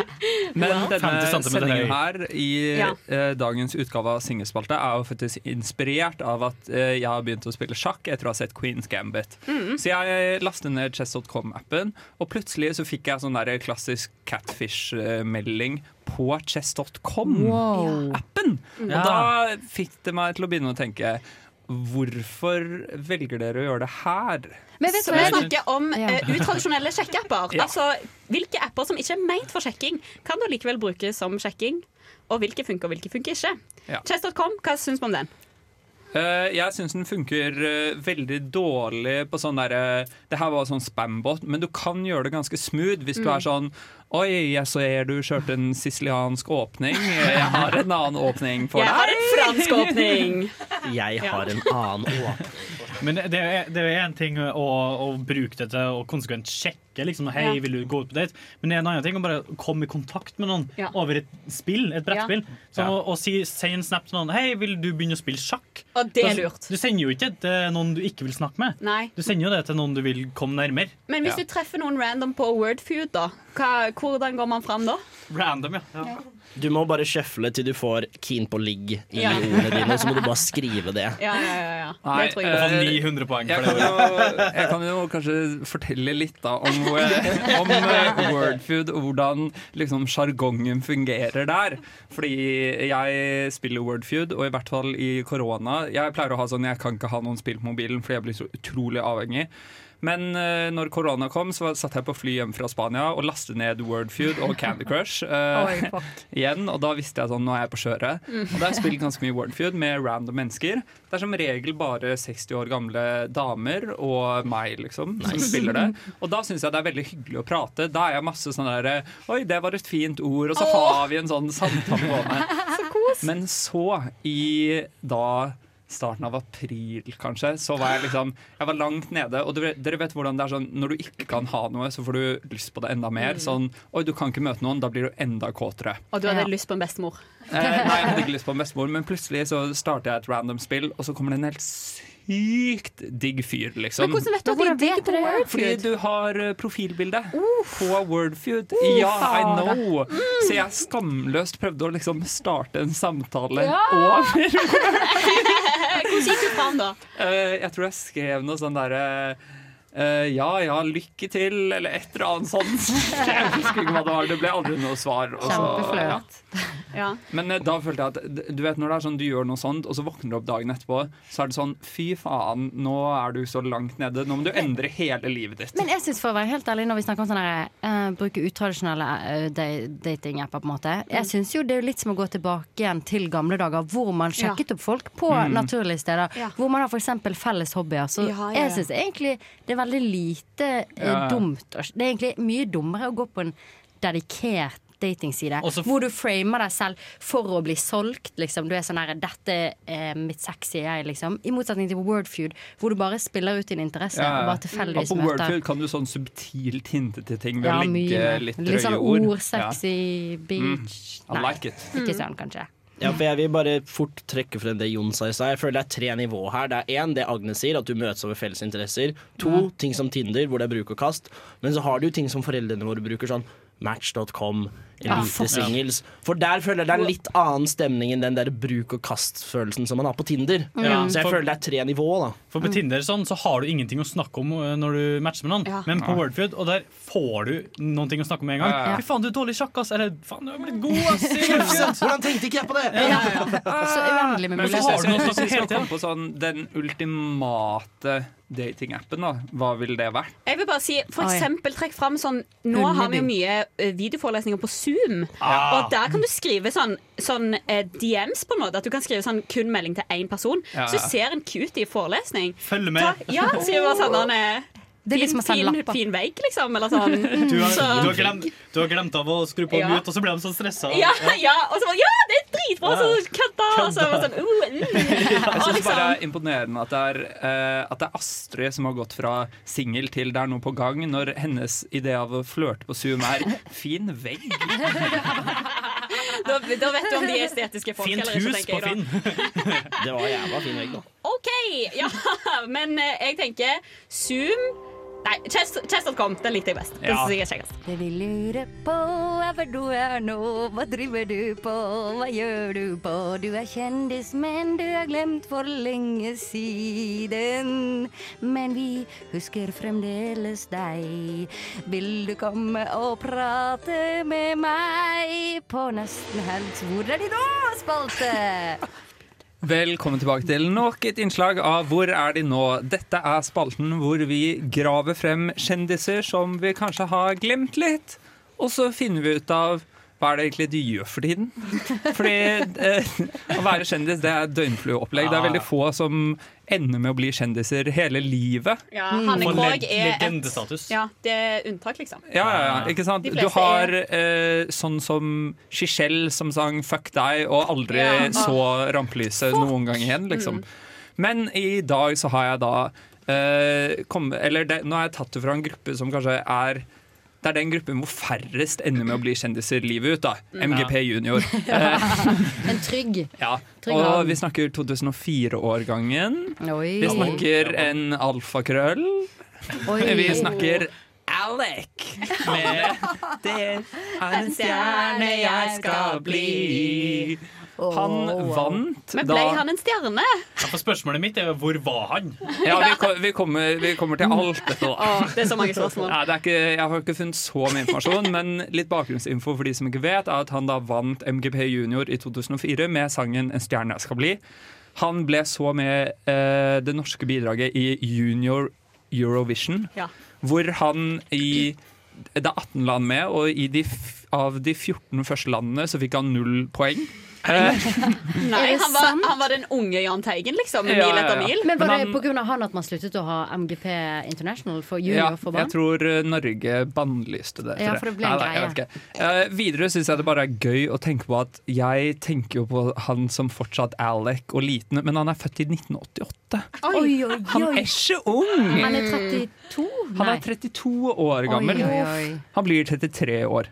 S9: Men denne
S4: 50 centimeter
S9: sendingen
S4: høy.
S9: her i
S8: Ja.
S9: eh, dagens utgave av Singelspalte er jo faktisk inspirert av at eh, jeg har begynt å spille sjakk etter å ha sett Queen's Gambit.
S4: Mhm.
S9: Så jeg eh, lastet ned chess.com-appen, og plutselig så fikk jeg sånn der klassisk catfish-melding på chess.com-appen. Og
S4: Ja.
S9: da fikk det meg til å begynne å tenke Hvorfor velger dere å gjøre det her?
S14: Men vet
S8: Så
S14: du
S8: vi
S14: hva?
S8: snakker om
S14: Ja.
S8: eh, utradisjonelle sjekkeapper.
S9: Ja.
S8: Altså, hvilke apper som ikke er ment for sjekking, kan du likevel bruke som sjekking? Og hvilke funker, og hvilke funker ikke?
S9: Ja.
S8: Chess.com, hva syns du om den?
S9: Eh, jeg syns den funker eh, veldig dårlig på sånn derre Det her var sånn spambot, men du kan gjøre det ganske smooth hvis du
S4: Mm.
S9: er sånn Oi, jeg ser du kjørte en siciliansk åpning. eh, Jeg har en annen åpning for
S8: Jeg har
S9: deg.
S8: en fransk åpning.
S10: Jeg har en annen åpning.
S4: Men det er det er en ting å, å bruke det til å konsekvent sjekke. Liksom, hei,
S8: Ja.
S4: vil du gå ut på date? Men det er en annen ting å bare komme i kontakt med noen
S8: Ja.
S4: over et spill, et brettspill. Så å, å si, si en snap til noen Hei, vil du begynne å spille sjakk?
S8: Og det er
S4: Da-
S8: lurt.
S4: Du sender jo ikke til noen du ikke vil snakke med.
S8: Nei.
S4: Du sender jo det til noen du vil komme nærmere.
S8: Men hvis du treffer noen random på Wordfeud, da, hva, hvordan går man fram da?
S4: Random, ja.
S10: Du må bare sjøfle til du får keen på ligg i
S8: Ja.
S10: ordene dine, og så må du bare skrive det.
S8: Ja, ja, ja, ja.
S9: Nei,
S8: Det tror
S9: eh,
S8: jeg.
S4: Få 900 poeng
S9: Jeg
S4: for
S9: kan,
S4: det.
S9: jo, jeg kan jo kanskje fortelle litt da om, eh, om eh, Wordfood og hvordan liksom sjargongen fungerer der. Fordi jeg spiller Wordfood, og i hvert fall i korona Jeg pleier å ha sånn jeg kan ikke ha noen spill på mobilen fordi jeg blir så utrolig avhengig. Men eh, når korona kom, så var- satt jeg på fly hjemme fra Spania og lastet ned Wordfood og Candy Crush. eh,
S14: Oi, fuck.
S9: igjen, og da visste jeg sånn, nå er jeg på kjøret.
S14: Mm.
S9: Og da har jeg spilt ganske mye Wordfeud med random mennesker. Det er som regel bare 60 år gamle damer og meg, liksom, som
S4: Nice.
S9: spiller det. Og da syns jeg det er veldig hyggelig å prate. Da er jeg masse sånn der Oi, det var et fint ord, og så har vi en sånn samtale gående. Men så, i da starten av april, kanskje, så var jeg liksom Jeg var langt nede, og dere, dere vet hvordan det er sånn når du ikke kan ha noe, så får du lyst på det enda mer.
S8: Mm.
S9: Sånn Oi, du kan ikke møte noen, da blir du enda kåtere.
S8: Og du hadde lyst på en bestemor.
S9: Eh, nei, jeg hadde ikke lyst på en bestemor, men plutselig så starter jeg et random spill, og så kommer det en helt sykt digg fyr, liksom.
S8: Men hvordan vet du at de er digge på
S9: Fordi
S8: Wordfeud?
S9: du har eh, profilbilde på Wordfeud. ja, I
S8: faen. Mm.
S9: know! Så jeg skamløst prøvde å liksom starte en samtale
S8: Ja.
S9: over
S8: Hvordan gikk du fram da?
S9: Eh, jeg tror jeg skrev noe sånn derre eh, ja, ja, lykke til, eller et eller annet sånt. Jeg husker ikke hva det var. Det ble aldri noe svar. og så- ja.
S8: Ja.
S9: Men eh, da følte jeg at d- Du vet når det er sånn du gjør noe sånt, og så våkner du opp dagen etterpå, så er det sånn Fy faen, nå er du så langt nede. Nå må du endre hele livet ditt.
S14: Men jeg synes for å være helt ærlig når vi snakker om sånne her, eh, bruke utradisjonelle eh, da- datingapper, på en måte Jeg synes jo det er jo litt som å gå tilbake igjen til gamle dager, hvor man sjekket opp folk på
S13: Mm.
S14: naturlige steder. Hvor man har f.eks. felles hobbyer. Så
S13: Ja, ja, ja.
S14: jeg synes egentlig det er veldig lite eh,
S13: Ja, ja.
S14: dumt. å- Det er egentlig mye dummere å gå på en dedikert datingside.
S4: Også f-
S14: hvor du framer deg selv for å bli solgt. Liksom. Du er sånn her 'Dette er mitt sexy jeg', liksom. I motsetning til Wordfeud, hvor du bare spiller ut din interesse og bare tilfeldigvis
S9: på
S14: møter
S9: Wordfield kan du sånn subtilt hinte til ting ved
S14: Ja,
S9: å legge
S14: mye.
S9: litt drøye
S14: Litt sånn
S9: ord.
S14: ord, sexy, beach
S9: Mm. I like it.
S14: Ikke sånn, kanskje.
S10: Ja, for Jeg vil bare fort trekke frem det Jon sa i stad. Jeg føler det er tre nivå her. Det er én, det Agnes sier, at du møtes over felles interesser. To, ting som Tinder, hvor det er bruk og kast. Men så har du jo ting som foreldrene våre bruker, sånn Match.com,
S14: Ja,
S10: Elite
S14: fuck.
S10: Singles. For der føler jeg det er en litt annen stemning enn den der bruk og kast-følelsen som man har på Tinder.
S4: Ja,
S10: Så jeg
S4: for-
S10: føler det er tre nivå, da.
S4: For
S8: Mm.
S4: på Tinder sånn, så har du ingenting å snakke om eh, når du matcher med noen.
S10: Ja.
S4: Men på
S10: Ja.
S4: Wordfeud, og der får du noen ting å snakke om med en gang.
S10: Ja, ja, ja.
S4: Fy faen, du er dårlig i sjakk, ass! Eller faen, du er blitt god, ass! i Wordfeud!»
S10: Hvordan tenkte ikke jeg på det?
S4: Ja.
S14: Så uendelig med
S9: Men hvis
S4: muligheter.
S9: jeg skal-
S4: Har du noe
S9: hvis jeg skal
S4: helt til?
S9: komme på sånn den ultimate datingappen, da, hva ville det vært?
S8: Jeg vil bare si, for
S9: Oi.
S8: eksempel trekk fram sånn Nå har vi jo mye eh, videoforelesninger på Zoom.
S9: Ah.
S8: Og der kan du skrive sånn, sånn eh, DMs, på en måte. At du kan skrive sånn kun melding til én person.
S4: Ja,
S8: Så
S4: ja.
S8: du ser en cute i forelesning.
S4: Følg med.
S8: Ta, ja, skriver bare sånn han er
S14: Det er liksom å sende
S8: fin,
S14: lapper.
S8: fin vegg, liksom. Eller sånn.
S4: Du har,
S8: Så-
S4: du, har glemt, du har glemt av å skru på
S8: Ja.
S4: mute, og så ble de så stressa.
S8: ja, ja, og så bare Ja, det er dritbra! Så kødda! Og så bare sånn uh, mm.
S4: Ah,
S9: Jeg
S8: Og
S9: synes
S8: liksom,
S9: bare det er imponerende at det er, eh, at det er Astrid som har gått fra singel til det er noe på gang, når hennes idé av å flørte på Zoom er fin vegg.
S8: da, da vet du om de er estetiske folk eller ikke, tenker jeg da.
S10: Det var jævla fin vegg, da.
S8: OK! Ja, men eh, jeg tenker Zoom Nei, Chess- Chess.com. Den likte jeg best. Den
S14: Ja.
S8: synes jeg er kjekkest.
S14: Det vi lurer på er hvor du er nå, hva driver du på, hva gjør du på? Du er kjendis, men du er glemt for lenge siden. Men vi husker fremdeles deg. Vil du komme og prate med meg på nesten helt Hvor er de nå, spalte?
S9: Velkommen tilbake til nok et innslag av Hvor er de nå? Dette er spalten hvor vi graver frem kjendiser som vi kanskje har glemt litt, og så finner vi ut av hva er det egentlig du gjør for tiden? Fordi eh, å være kjendis det er døgnflueopplegg. Det er veldig få som ender med å bli kjendiser hele livet.
S8: Ja, Hanne
S9: Og
S8: Krogh
S9: Mm. leg-
S8: er
S9: legendestatus.
S8: Ja, det er unntak, liksom.
S9: Ja, ja, ja, ikke sant?
S8: De
S9: Du
S8: fleste
S9: har eh, sånn som Shishel som sang 'fuck deg' og aldri
S8: Ja.
S9: så rampelyset noen gang igjen, liksom. Men i dag så har jeg da eh, kom, Eller det, nå har jeg tatt det fra en gruppe som kanskje er det er den gruppen hvor færrest ender med å bli kjendiser livet ut. da
S14: Mm.
S9: MGP junior.
S14: En trygg.
S9: Ja.
S14: Trygg
S9: Og
S14: havn.
S9: vi snakker 2004-årgangen.
S14: Oi.
S9: Vi snakker en alfakrøll.
S14: Oi.
S9: Vi snakker Alec med Det er en stjerne jeg skal bli. Han vant
S8: Men
S9: da
S8: ble han en stjerne?
S4: Ja, for spørsmålet mitt er jo hvor var han?
S9: ja, vi, ko- vi, kommer, vi kommer til alt dette, da.
S8: Å, det er så mange spørsmål.
S9: Ja, det er ikke, jeg har ikke funnet så mye informasjon, men litt bakgrunnsinfo for de som ikke vet, er at han da vant MGP Junior i 2004 med sangen 'En stjerne jeg skal bli'. Han ble så med eh, det norske bidraget i Junior Eurovision,
S8: Ja.
S9: hvor han i Det er 18 land med, og i de, f- av de 14 første landene så fikk han null poeng. Eh,
S8: Nei,
S14: Er det
S8: han var,
S14: sant?
S8: han var den unge Jahn Teigen, liksom. Mil
S9: Ja, ja,
S8: etter
S9: ja.
S8: mil.
S14: Men var
S9: Men
S14: det
S9: han-
S14: pga. han at man sluttet å ha MGP International for
S9: Ja,
S14: junior for barn?
S9: jeg tror eh, Norge bannlyste det. etter
S14: Ja, for det ble en
S9: Nei, nei, jeg
S14: greie.
S9: vet ikke. Eh, videre syns jeg det bare er gøy å tenke på at jeg tenker jo på han som fortsatt Alec og liten, men han er født i 1988.
S14: Oi, oi, oi.
S9: Han er ikke ung!
S14: Han er 32?
S9: Han er 32 år gammel.
S14: Oi, oi, oi.
S9: Han blir 33 år.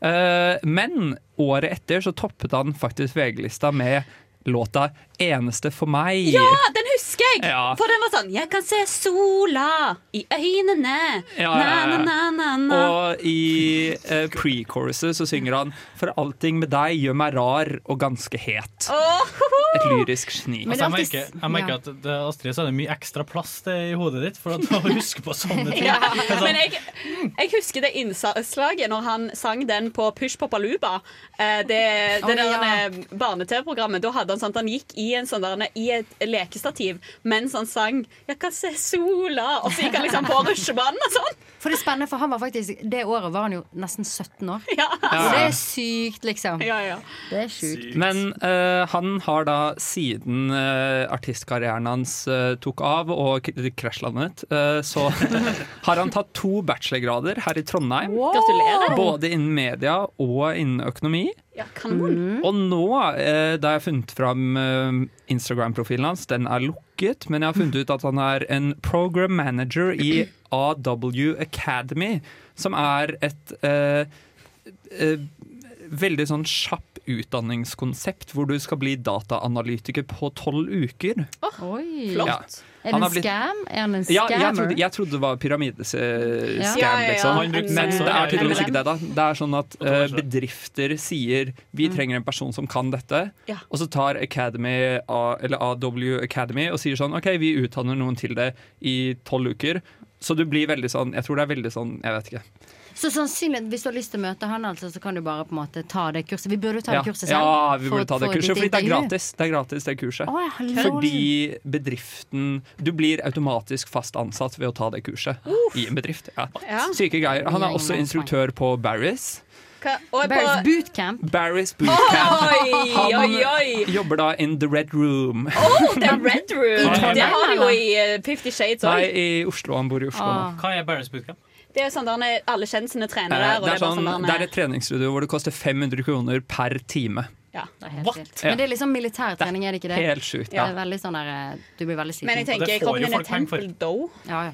S9: Eh, men året etter så toppet han faktisk VG-lista med låta 'Eneste for meg'.
S8: Ja, den husker jeg!
S9: Ja.
S8: For den var sånn Jeg kan se sola i øynene.
S9: Ja, ja, ja.
S8: Na, na, na, na, na.
S9: Og i eh, pre-choruset så synger han For allting med deg gjør meg rar og ganske het.
S8: Åh, ho, ho.
S9: Et lyrisk geni.
S4: Altså, jeg merker, jeg merker at det, Astrid så er det mye ekstra plass det, i hodet ditt for at du husker på sånne ting.
S8: Ja,
S4: Det er sånn,
S8: men jeg, jeg husker det innslaget når han sang den på Push Popaluba. Eh, Det, det
S14: Å,
S8: der
S14: ja.
S8: eh, barne-TV-programmet. Da hadde han sånn at han gikk i, en sånn der, i et lekestativ mens han sang 'Jeg kan se sola', og så gikk han liksom på rusjebanen og sånn.
S14: For det er spennende, for han var faktisk Det året var han jo nesten 17 år.
S8: Ja.
S14: Så det er sykt, liksom.
S8: Ja, ja.
S14: Det er sjukt.
S9: Men eh, han har da siden eh, artistkarrieren hans eh, tok av og k- krasjlandet, eh, så har han tatt to bachelorgrader her i Trondheim.
S8: Gratulerer.
S9: Både innen media og innen økonomi.
S8: Ja, kanon.
S9: Og nå, eh, da jeg har funnet fram eh, Instagram-profilen hans, den er lukket, men jeg har funnet ut at han er en program manager i AW Academy, som er et eh, eh, veldig sånn kjapp utdanningskonsept hvor du skal bli dataanalytiker på tolv uker.
S14: Oi.
S9: flott. Ja.
S14: Er det
S9: Han har
S14: en
S9: blitt-
S14: scam? Er han en
S9: Ja,
S14: scammer?
S9: jeg trodde, jeg trodde det var pyramidescam,
S14: Ja. Ja, ja, ja.
S9: liksom.
S14: Han brukte
S9: Men
S14: seks år,
S9: det er
S14: ja,
S9: tydeligvis
S14: ja.
S9: ikke det, da. Det er sånn at eh, bedrifter sier
S14: Mm.
S9: vi trenger en person som kan dette,
S8: Ja.
S9: og så tar Academy, A- eller AW Academy og sier sånn OK, vi utdanner noen til det i tolv uker. Så du blir veldig sånn Jeg tror det er veldig sånn Jeg vet ikke.
S14: Så sannsynlig, hvis du har lyst til å møte han, altså, så kan du bare på en måte ta det kurset. Vi burde jo ta det
S9: ja.
S14: kurset selv.
S9: ja, vi
S14: for-
S9: burde ta det
S14: for
S9: kurset,
S14: ditt
S9: fordi det er
S14: intervju.
S9: gratis. Det er gratis, det kurset.
S14: Å, ja, lol.
S9: fordi bedriften Du blir automatisk fast ansatt ved å ta det kurset i en bedrift. Ja.
S8: Ja.
S9: Syke greier. Han er også instruktør på Barris.
S8: Hva- og på-
S14: Barry's bootcamp.
S9: Barris Bootcamp.
S8: Oi,
S9: Han
S8: oi, oi.
S9: jobber da in the red room.
S8: Åh, det er Red Room!
S9: Nei.
S8: Det har de jo i eh, Fifty Shades
S9: Nei,
S8: òg.
S9: i Oslo. Han bor i Oslo nå.
S4: Hva er Barry's bootcamp?
S8: Det er sånn der ne- alle kjendisene trener
S9: Eh,
S8: der. Og
S9: Det er,
S8: bare
S9: sånn,
S8: der
S9: det er
S8: ne-
S9: et treningsstudio hvor det koster 500 kroner per time.
S8: eh, ja.
S14: Men det er liksom militær trening, er det ikke det?
S9: Helt sjukt,
S14: Ja.
S9: ja.
S14: Det er veldig sånn der, eh, du blir veldig sliten.
S8: Men jeg tenker kroppen din er temple dough.
S14: Ja, ja.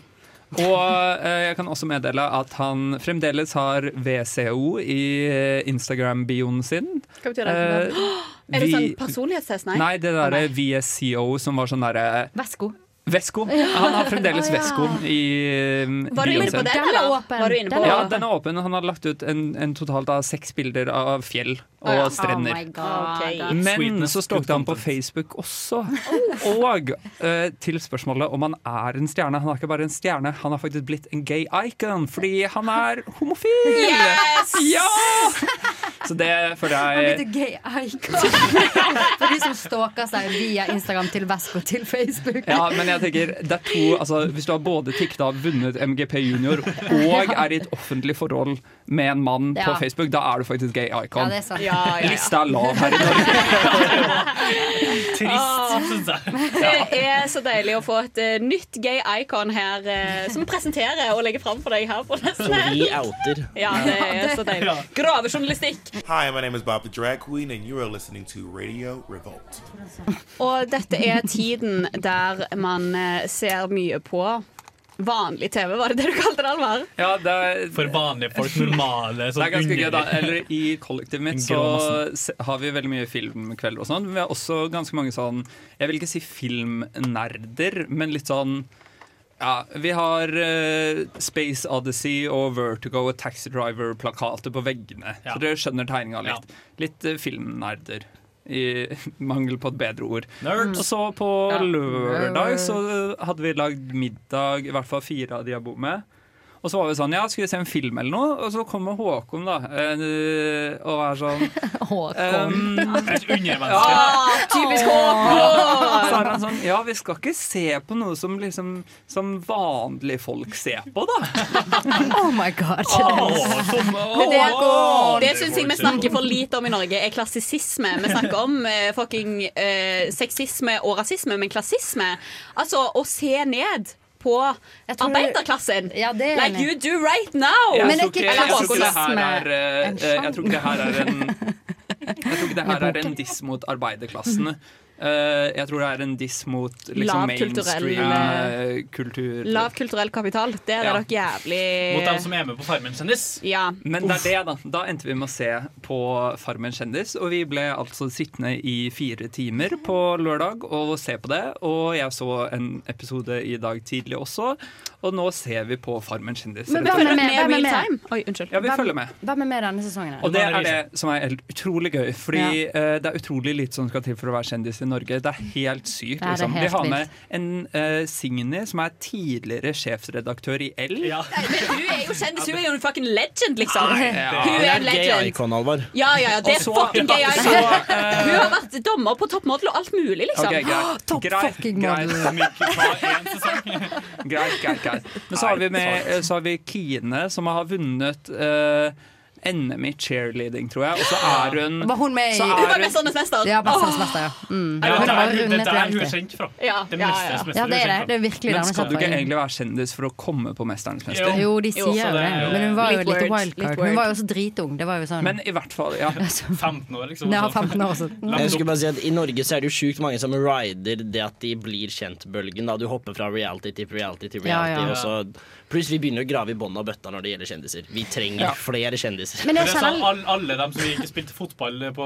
S9: Og eh, jeg kan også meddele at han fremdeles har VCO i eh, Instagram-bioen sin.
S8: Hva betyr det?
S9: Eh,
S8: er det
S9: vi-
S8: sånn personlighetstest? Nei.
S9: Nei, det derre VSCO som var sånn derre
S14: Vesko.
S9: Vesko. Han har fremdeles
S8: Å, ja.
S9: Vesko i um,
S8: Var du inne på den, eller? Var du inne på
S9: ja, den er åpen. Han har lagt ut en, en totalt av seks bilder av fjell og
S8: Å, ja.
S9: strender.
S8: Oh my God. Ok.
S9: Men
S8: Sweetness,
S9: så stalket han på Facebook også.
S14: Oh.
S9: Og eh, til spørsmålet om han er en stjerne. Han er ikke bare en stjerne, han har faktisk blitt en gay icon fordi han er homofil!
S14: Yes!
S9: Ja! Så det føler
S14: Han er
S9: jeg
S14: blitt et gay icon. For de som stalker seg via Instagram til Vesko til Facebook.
S9: Ja, men jeg tenker det er to altså, Hvis du har både tikket av vunnet MGP junior og er i et offentlig forhold med en mann
S14: Ja.
S9: på Facebook, da er du faktisk gay icon.
S14: Ja, det er sant. Ja, ja, ja.
S9: Lista er lav her i Norge.
S8: Åh.
S4: synes jeg.
S8: Det er så deilig å få et eh, nytt gay icon her eh, som presenterer og legger fram for deg her på Nesten
S10: Som vi
S8: Helg.
S10: outer.
S8: Ja, det er så deilig. Gravejournalistikk.
S19: Hi, my name is Bob the Drag Queen, and you are listening to Radio Revolt.
S8: Og dette er tiden der man eh, ser mye på vanlig TV, var det det du kalte det, Alvar?
S9: Ja, det er,
S4: For vanlige folk, normale
S9: det
S4: sånn
S9: er ganske gøy, da.
S4: underlig.
S9: Eller i kollektivet mitt så
S4: Gråmassen.
S9: se- har vi veldig mye filmkvelder og sånn. Men vi har også ganske mange sånn Jeg vil ikke si filmnerder, men litt sånn ja, Vi har eh, Space Odyssey og Vertigo og Taxi Driver-plakater på veggene. Så dere skjønner tegninga litt. Litt eh, filmnerder. I mangel på et bedre ord.
S4: Nerds.
S9: Og så på
S4: Ja.
S9: lørdag så eh, hadde vi lagd middag, i hvert fall fire av de jeg bor med. Og så var vi sånn, ja, skulle vi se en film eller noe? Og så kommer Håkon, da. eh, og er sånn
S14: Eh.
S4: Håkon. Et undermenneske.
S9: Ja,
S4: typisk
S9: Ja.
S4: Håkon!
S9: Så er han sånn, ja, vi skal ikke se på noe som, liksom, som vanlige folk ser på, da.
S14: Oh my god.
S8: Men det, det syns jeg vi snakker for lite om i Norge, er klassisisme. Vi snakker om eh, fucking eh, sexisme og rasisme, men klassisme Altså å se ned på
S14: tror du-
S8: arbeiderklassen.
S14: er
S8: like
S14: enig.
S8: you do right now!
S9: Jeg
S14: Men
S9: tror
S14: er ikke
S9: ikke- jeg tror ikke det her
S14: klassisme
S9: er, eh,
S14: en
S9: eh, Jeg tror ikke det her er en Jeg tror ikke det her er en diss mot arbeiderklassene. Eh, jeg tror det er en diss mot liksom,
S8: Lav kulturell,
S9: mainstream
S8: eh,
S9: eh, kultur.
S8: Lav kulturell kapital. Det er
S9: Ja.
S8: dere jævlig
S9: Mot dem som
S4: er med på Farmen kjendis.
S8: Ja.
S9: Men det er det, da. Da endte vi med å se på Farmen kjendis. Og vi ble altså sittende i fire timer på lørdag og se på det. Og jeg så en episode i dag tidlig også, og nå ser vi på Farmen kjendis.
S14: Men
S9: rett og slett.
S14: hvem er med?
S8: Med
S14: Hvem er
S8: real
S14: med?
S8: time. Oi, unnskyld.
S9: Ja, vi følger med.
S14: Hvem er med denne sesongen? her?
S9: Og det er det som er helt utrolig gøy. Fordi eh, det er utrolig lite som skal til for å være kjendis i Norge. Det er helt sykt.
S14: Ja, det er
S9: Liksom.
S14: helt
S9: Vi har
S14: vilt.
S9: med en uh, Signy, som er tidligere sjefsredaktør i L.
S8: Nei, men hun er jo kjendis. Hun er jo en fucking legend, liksom.
S9: Ja.
S8: Hun er en
S10: Det er gay
S8: legend.
S10: icon, Alvar.
S8: Ja, ja, ja, det er
S10: Og så-
S8: fucking gay.
S10: så,
S8: icon. Hun har vært dommer på toppmodell og alt mulig, liksom.
S9: eh,
S14: Sånn,
S9: Ok, greit.
S8: Topp
S9: Greit,
S8: fucking
S9: greit.
S8: model.
S9: greit, greit, greit. Men så har vi, med, så har vi Kine, som har vunnet eh, NM i cheerleading, tror jeg. Og så er hun
S14: Var hun med i
S9: så er hun-
S8: mester.
S14: Ja, Mesternes mester, ja.
S9: Ja,
S14: Mm. Hun
S9: det er-
S14: var
S9: det-
S14: rundet
S9: det er
S14: reality.
S9: hun er kjent fra.
S8: Ja,
S9: Det er
S8: ja, ja.
S9: Mesternes mester
S14: Ja, det er
S9: hun
S14: det.
S9: kjent
S14: Det er virkelig det
S9: Men
S14: hun er
S9: skal
S14: kjent
S9: du
S14: fra.
S9: ikke egentlig være kjendis for å komme på Mesternes mester?
S14: Jo, de sier jo det. Men hun var jo
S8: Litt
S14: et lite
S8: word, litt
S14: wildcard.
S8: word.
S14: Hun var jo også dritung. Det var jo sånn
S9: Men i hvert fall, ja.
S4: 15 år, liksom.
S14: Ja, 15 år også.
S10: Jeg skulle bare si at I Norge så er det jo sjukt mange som rider det at de blir kjent-bølgen. da Du hopper fra reality til reality til
S14: Ja,
S10: reality.
S14: ja.
S10: Og så, pluss vi begynner å grave i bånn av bøtta når det gjelder kjendiser. Vi trenger
S4: Ja.
S10: flere kjendiser.
S4: Men det sa alle, alle dem som ikke spilte fotball på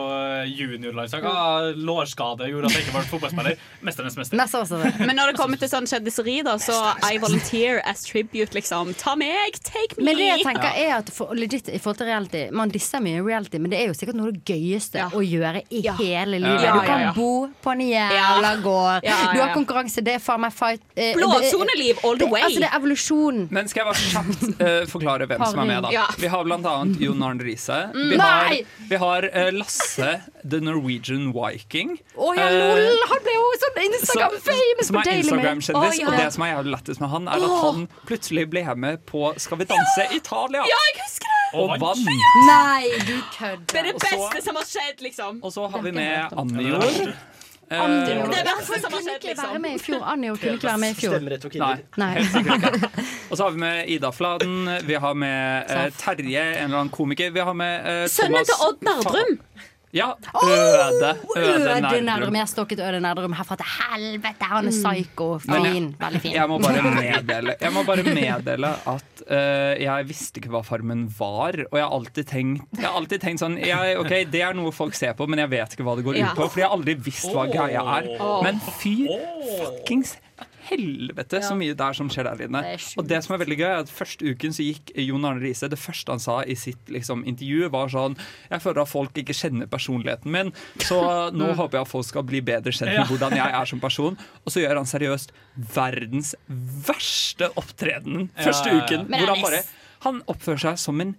S4: juniorlandslag. Ah, lårskade gjorde at jeg ikke ble fotballspiller. Mesternes
S14: sånn-
S4: mester.
S8: Men når det kommer til sånn kjendiseri, da, så I volunteer as tribute, liksom. Ta meg, take me!
S14: Men det jeg tenker er at for, legit, i forhold til reality Man disser mye reality, men det er jo sikkert noe av det gøyeste å gjøre i hele livet.
S8: Ja,
S14: du
S8: ja,
S14: kan
S8: ja.
S14: bo på en jævla gård.
S8: Ja, ja,
S14: Du
S8: ja.
S14: har konkurranse, det er faen meg fight. eh,
S8: Blåsoneliv all the
S14: det-
S8: way.
S14: Altså, det er evolusjon.
S9: Men skal jeg bare kjapt eh, forklare hvem som er med, da?
S14: Ja.
S9: Vi har blant annet Jon Arne Riise.
S14: Mm.
S9: Vi har,
S14: Nei!
S9: vi har eh, Lasse the Norwegian Viking.
S14: Å ja,
S9: eh,
S14: lol! Han ble jo sånn
S9: som-
S14: Instagram-famous
S9: Som
S14: på
S9: er
S14: Daily Mail. Å,
S9: Instagram-kjendis.
S14: ja.
S9: Og det som er jævlig lættis med han, er at
S14: Åh.
S9: han plutselig ble hjemme på Skal vi danse Italia.
S8: Ja, jeg husker det!
S9: Og vann.
S14: Nei, du kødder.
S8: Det er det beste som har skjedd, liksom.
S9: Og så har vi med Anjor. Eh,
S14: Anjor.
S8: Det er det verste som har
S14: Kunne
S8: skjedd,
S14: ikke
S8: liksom.
S14: være med i fjor. Anjo kunne ikke være med i fjor.
S10: Stemmerett og
S9: Nei.
S10: kvinner.
S9: Helt sikkert ikke. Og så har vi med Ida Fladen, vi har med eh, Terje, en eller annen komiker. Vi har med eh,
S14: Sønnen
S9: Thomas
S14: til Odd Nerdrum.
S9: Ja. Øde.
S14: Øde Nerdrum. Jeg har stokket Øde Nerdrum herfra til helvete. Han er
S8: Mm.
S14: psyko.
S9: Men jeg-
S14: Fin. Veldig fin.
S9: Jeg må bare meddele, jeg må bare meddele at eh, jeg visste ikke hva Farmen var. Og jeg har alltid tenkt, jeg har alltid tenkt sånn jeg, OK, det er noe folk ser på, men jeg vet ikke hva det går
S2: Ja.
S9: ut på. Fordi jeg har aldri visst hva greia er.
S2: Åh.
S9: Men fy fuckings helvete så mye det er som skjer der inne. Og det som er veldig gøy, er at første uken så gikk Jon Arne Riise Det første han sa i sitt liksom, intervju, var sånn Jeg føler at folk ikke kjenner personligheten min, så nå
S2: Mm.
S9: håper jeg at folk skal bli bedre kjent
S2: Ja.
S9: med hvordan jeg er som person. Og så gjør han seriøst verdens verste opptreden
S4: Ja.
S9: første uken.
S4: Men
S9: Hvor han
S4: han er
S9: bare
S4: s-
S9: Han oppfører seg som en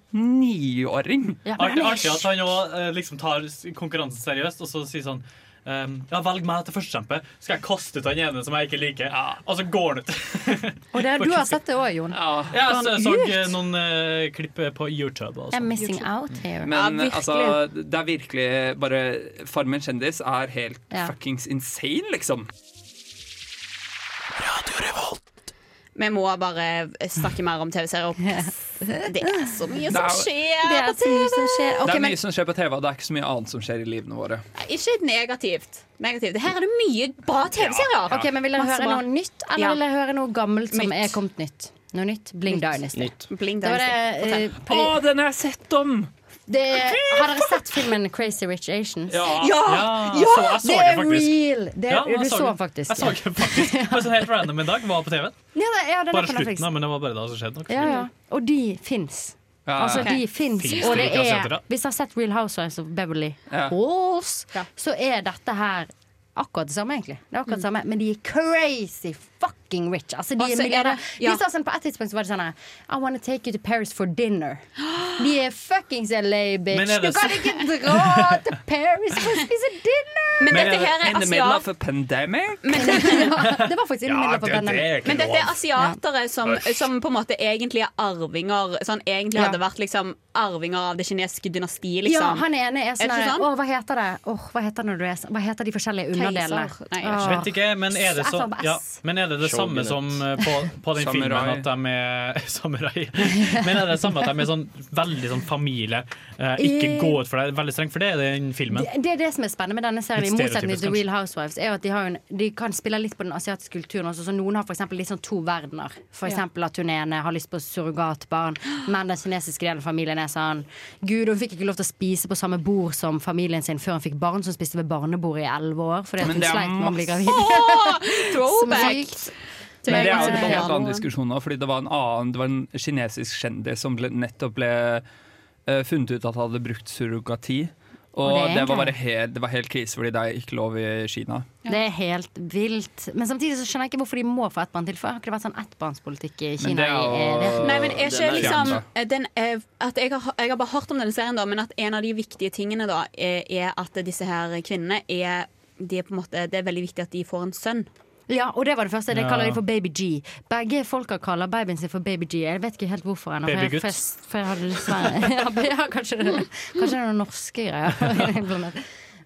S9: niåring.
S4: Artig, artig at han òg liksom tar s- konkurransen seriøst og så sier sånn ehm, ja, Velg meg til førstekjempe. Skal jeg kaste ut han ene som jeg ikke liker? Og så går han ut.
S14: Og det, du har sett det òg, Jon.
S4: Jeg
S14: Går
S4: så,
S14: han
S4: så
S14: ut?
S4: eh, noen eh, klipp på YouTube. og
S14: I'm
S4: sånn.
S14: missing out here.
S9: Men altså, det er virkelig bare Farmen kjendis er helt
S8: Ja.
S9: fuckings insane, liksom.
S8: Vi må bare snakke mer om TV-serier. Det er så mye
S9: Det
S8: som
S9: er-
S8: skjer
S14: Det er
S8: på
S14: så mye
S8: TV!
S14: som skjer.
S9: det
S8: Ok,
S9: er
S8: men
S9: mye som skjer på TV, og det er ikke så mye annet som skjer i livene våre.
S8: ikke negativt. negativt. Her er det mye bra TV-serier.
S14: Ok, men Vil dere
S8: Masse
S14: høre
S8: bra.
S14: noe nytt, eller
S8: Ja.
S14: vil dere høre noe gammelt som er kommet nytt? Noe nytt? Bling Dynasty.
S8: Bling
S14: Det var det, eh,
S8: Fortell.
S14: Peri-
S9: Å, den har jeg sett om!
S14: Det, har dere sett filmen Crazy Rich Asians?
S9: Ja. Ja, Ja,
S4: ah,
S9: jeg så- jeg så
S14: det
S4: den
S14: er
S4: faktisk.
S14: real! Det er,
S4: Ja, jeg
S14: du så den
S4: den.
S14: faktisk.
S4: Jeg så den faktisk. Det var sånn helt random en dag. Var på TV-en.
S14: Ja, det- ja, den er
S4: Bare
S14: på Netflix.
S4: slutten, da, men det var bare det som skjedde. nok.
S14: Ja, ja. Og de fins.
S4: Ja, ja, ja.
S14: Altså, de
S4: Ok.
S14: fins,
S4: Finnes
S14: og
S4: det
S14: det
S4: ikke, altså, etter
S14: er
S4: det?
S14: Hvis du har sett Real Housewives of Beverly
S4: Ja.
S14: Hills, så er dette her akkurat det samme, egentlig. Det er akkurat det samme, Men de er crazy fucking rich. Altså, de
S8: Og
S14: Mm. er
S8: så er
S14: milliardærer.
S8: det- ja.
S14: De sa sånn, på et tidspunkt så var det sånn her, I wanna take you to Paris for dinner. De er fuckings LA,
S9: Men
S14: bitch.
S9: er
S14: Du
S9: det
S14: kan
S9: så-
S14: ikke dra til Paris for å spise dinner!
S9: In the middle of a pandemic?
S14: Det var faktisk in the middle of a pandemic.
S8: Men dette er asiatere som,
S9: Uff.
S8: som på en måte egentlig er arvinger Sånn egentlig
S14: Ja.
S8: hadde vært liksom arvinger av det kinesiske dynastiet,
S14: Ja,
S8: liksom.
S14: han ene er sånn,
S8: Er det ikke
S14: her,
S8: sånn?
S14: Å, hva heter det? Åh, hva heter det når du er sånn? Hva heter de forskjellige
S8: Keiser?
S14: underdelene?
S8: Nei, jeg
S14: Åh.
S4: Vet ikke, men er det, så,
S14: F.A.B.S.
S4: ja, men er det det samme
S9: Shogunate.
S4: som eh, på, på den
S9: Samurai.
S4: filmen at de er Samurai. Men er det samme at de er sånn veldig sånn familie? Eh, ikke
S14: Eh,
S4: gå ut for deg, veldig strengt, for det er den filmen.
S14: Det, det er det som er spennende med denne serien, i
S4: Litt
S14: motsetning
S4: stereotypisk,
S14: til Real Housewives, er jo at de, har jo en, de kan spille litt på den asiatiske kulturen også. Så noen har for eksempel litt sånn to verdener. For
S8: Ja.
S14: eksempel at hun ene har lyst på surrogatbarn, men den kinesiske delen av familien er sånn Gud, hun fikk ikke lov til å spise på samme bord som familien sin før hun fikk barn, så hun spiste ved barnebordet i elleve år fordi at
S9: Men
S14: hun
S9: det er
S14: sleit med å bli gravid.
S8: Åh,
S14: Som er
S8: throwback!
S14: sykt.
S9: Men det er jo en
S14: Ja.
S9: helt annen diskusjon nå, fordi det var en annen Det var en kinesisk kjendis som ble, nettopp ble eh, funnet ut at han hadde brukt surrogati. Og
S14: Og det er
S9: det, var
S14: egentlig-
S9: bare helt, det var helt krise, fordi det er ikke lov i Kina.
S14: Det er helt vilt. Men samtidig så skjønner jeg ikke hvorfor de må få ett barn til. For har ikke det vært sånn ettbarnspolitikk i Kina?
S9: det er jo-
S14: i- i det?
S8: Nei, men er ikke
S9: Den er
S8: liksom
S9: fjern,
S8: eh, den, eh, at jeg, har, jeg har bare hørt om denne serien, da, men at en av de viktige tingene da er, er at disse her kvinnene er de er på en måte, Det er veldig viktig at de får en sønn.
S14: Ja, og det var det første. Det
S4: Ja.
S14: kaller de for Baby G. Begge folka kaller babyen sin for Baby G. Jeg vet ikke helt hvorfor ennå. for jeg-
S4: Babygutt.
S14: For, jeg- for jeg hadde dessverre ja, be- ja, kanskje, det, kanskje det er noen norske greier. Blandet.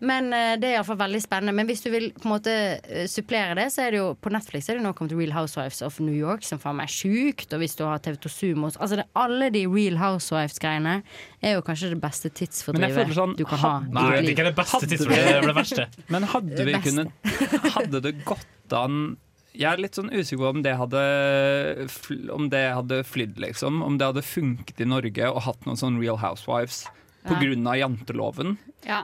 S14: Men eh, det er iallfall veldig spennende. Men hvis du vil på en måte eh, supplere det, så er det jo på Netflix er det nå kommet Real Housewives of New York, som faen meg er sjukt. Og hvis du har TV2 Sumo så- Altså det, alle de Real Housewives-greiene er jo kanskje det beste
S9: Men jeg føler
S14: tidsfordrivet
S9: sånn
S14: du kan ha.
S9: hadde-
S4: Nei, det er ikke det beste
S9: Hadde
S4: tidspunktet,
S9: vi-
S4: det er det verste.
S9: Men hadde vi
S4: Det beste.
S9: kunnet Hadde det gått an Jeg er litt sånn usikker på om det hadde fl- Om det hadde flydd, liksom. Om det hadde funket i Norge og hatt noen sånn Real Housewives på
S14: Ja.
S9: grunn av janteloven.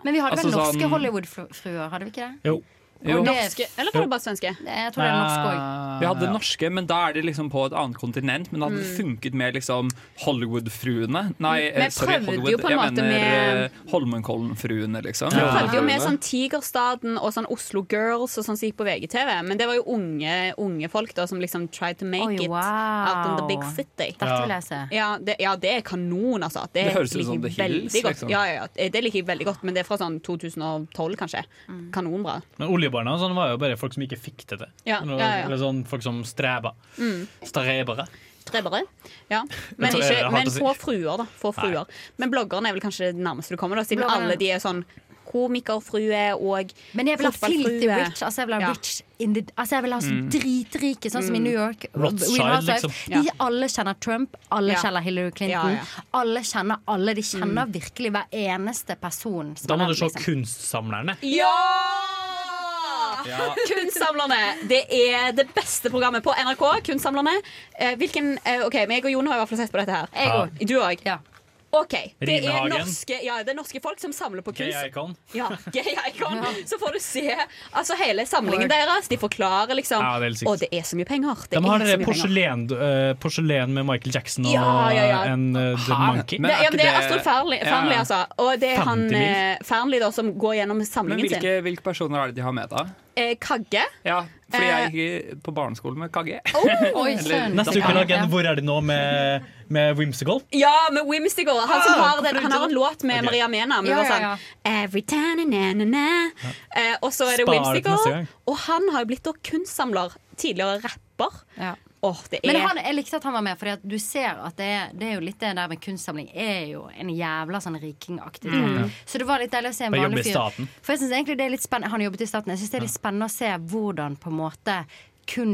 S14: Men vi hadde
S9: Altså
S14: vel norske
S9: sånn-
S14: Hollywood-fruer, hadde vi ikke det?
S9: Jo.
S14: Og det-
S8: svenske?
S14: Jeg tror det er norsk
S8: Ah.
S14: òg.
S4: Eh,
S9: Vi hadde norske, men da er de liksom på et annet kontinent. Men det hadde
S8: Mm.
S9: funket med liksom Hollywood-fruene. Nei, eh,
S8: Men jeg
S9: sorry,
S8: prøvde jo
S9: Hollywood.
S8: på en
S9: Jeg
S8: måte
S9: mener
S8: med-
S9: eh, Holmenkollen-fruene, liksom.
S8: Vi prøvde jo med sånn Tigerstaden og sånn Oslo Girls og sånn som gikk på VGTV, men det var jo unge, unge folk da som liksom tried to make
S14: Oi,
S8: it out in the big city.
S14: Dette vil jeg se.
S8: Ja, det, ja, det er kanon, altså. Det,
S9: Det høres ut som
S8: liker jeg
S9: The Hills,
S8: veldig godt.
S9: liksom.
S8: Ja, ja, ja, det liker jeg veldig godt, men det er fra sånn 2012, kanskje.
S14: Mm.
S8: Kanonbra.
S4: Men oljebarna og sånn var jo bare folk som ikke fikk til det.
S8: Ja,
S4: Eller-
S8: ja, ja.
S4: Eller sånn folk som streba.
S8: Mm.
S4: Strebere.
S8: Trebere. Ja. Men,
S4: tror jeg er
S8: ikke,
S4: hardt
S8: men
S4: å si.
S8: få fruer, da. Få fruer. Men bloggerne er vel kanskje det nærmeste du kommer, da, siden
S14: Bloggerne-
S8: alle de er sånn komikerfrue og
S14: Men jeg vil ha filthy
S8: fotballfrue.
S14: rich. Altså jeg vil ha
S8: Ja.
S14: rich in the, altså jeg vil ha så
S8: Mm.
S14: dritrike, sånn som i
S8: Mm.
S14: New York.
S8: Rothschild,
S14: Real Housewives.
S8: liksom.
S14: De
S8: Ja.
S14: alle kjenner Trump, alle
S8: Ja.
S14: kjenner Hillary
S8: Ja,
S14: Clinton.
S8: ja. Mm.
S14: Alle kjenner alle. De kjenner virkelig hver eneste person. som
S4: Da
S14: er
S8: Sånn
S4: må du
S14: der,
S4: se
S14: liksom.
S4: Kunstsamlerne.
S8: Ja!
S4: Ja.
S8: Kunstsamlerne. Det er det beste programmet på NRK. Kunstsamlerne. Eh, hvilken eh, OK, meg og Jon har i hvert fall sett på dette her.
S14: Jeg òg.
S8: Du òg? OK. Det er,
S4: Rimehagen.
S8: norske, ja, det er norske folk som samler på kunst.
S4: Gay icon.
S8: Ja, gay icon. Så får du se altså, hele samlingen deres. De forklarer liksom
S4: Ja, det er helt sykt.
S8: Og det er så mye penger. Det
S4: De har
S8: er
S4: det
S8: så
S4: der
S8: mye penger.
S4: porselen, eh, porselen med Michael Jackson og
S8: Ja, ja, ja.
S4: en eh, The
S9: Hæ?
S4: Monkey.
S8: det, ja, men det er Astrid Fearnley, Fearnley, altså. Og det er han
S9: 50 mil.
S8: eh, Fearnley da, som går gjennom
S9: Men
S8: samlingen
S9: hvilke, hvilke personer er det de har med, da?
S8: sin. Eh, Kagge.
S9: Ja, fordi
S8: Eh.
S9: jeg gikk på barneskolen med Kagge.
S8: oi,
S9: Eller-
S8: søren.
S4: Neste uke lagen Hvor er de nå? med, med Whimsical.
S8: Ja, med Whimsical. Han, som
S4: Ah,
S8: har,
S4: hvorfor
S8: den, han
S4: ikke?
S8: har en låt med
S4: Ok.
S8: Maria Mena. Men
S4: Ja,
S8: det var
S4: ja,
S8: sånn Every time, na, na, na. Eh, og så er det
S4: Spar det til neste
S8: Whimsical.
S4: gang.
S8: Og han har jo blitt da kunstsamler. Tidligere rapper.
S14: Ja.
S8: Åh, det er
S14: Men han, jeg likte at han var med, for du ser at det er, det er jo litt det der med kunstsamling er jo en jævla sånn rikingaktig
S4: Mm.
S14: ting. Så det var litt deilig å se en
S4: Han jobber i
S14: vanlig fyr.
S4: staten.
S14: For jeg synes egentlig det er litt spennende Han jobbet i staten. Jeg syns det er litt spennende å se hvordan på en måte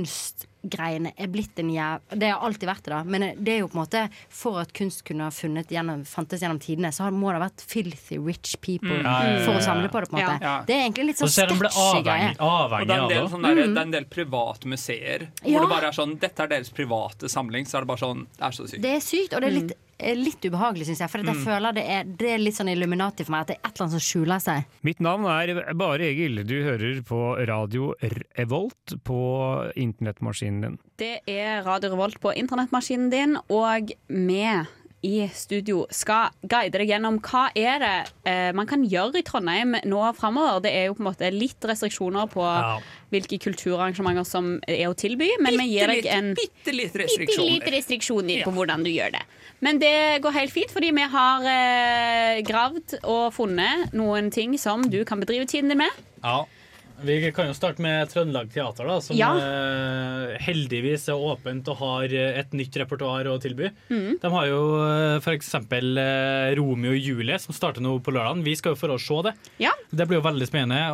S14: kunstgreiene er blitt en jæv... Det har alltid vært det, da, men det er jo på en måte for at kunst kunne ha funnet gjennom, fantes gjennom tidene, så må det ha vært filthy rich people
S9: Mm. Ja, ja, ja, ja.
S14: for å samle på det, på en måte.
S9: Ja.
S14: Det er egentlig en litt sånn
S9: Og så er de ble
S14: sketchy greie.
S9: Og det er en del, sånn der,
S14: Mm.
S9: det er en del private museer
S14: Ja.
S9: hvor det bare er sånn Dette er deres private samling. Så er det bare sånn Det er så sykt.
S14: Det er sykt, og det er litt, eh, litt ubehagelig, syns jeg. For at jeg
S20: Mm.
S14: føler det er, det er litt sånn Illuminati for meg, at det er et eller annet som skjuler seg.
S20: Mitt navn er Bare Egil. Du hører på Radio Revolt på internettmaskinen din.
S8: Det er Radio Revolt på internettmaskinen din, og vi i studio skal guide deg gjennom hva er det eh, man kan gjøre i Trondheim nå framover. Det er jo på en måte litt restriksjoner på hvilke kulturarrangementer som er å tilby, men vi gir deg en
S9: bitte litt
S8: bitte
S9: restriksjoner.
S8: lite restriksjoner på hvordan du gjør det. Men det går helt fint, fordi vi har eh, gravd og funnet noen ting som du kan bedrive tiden din med.
S4: Ja. Vi kan jo starte med Trøndelag Teater, da, som
S8: Ja.
S4: eh, heldigvis er åpent og har eh, et nytt repertoar å tilby.
S8: Mm.
S4: De har jo eh, f.eks. eh, Romeo og Julie, som starter nå på lørdag. Vi skal jo for å se det.
S8: Ja.
S4: Det blir jo veldig spennende.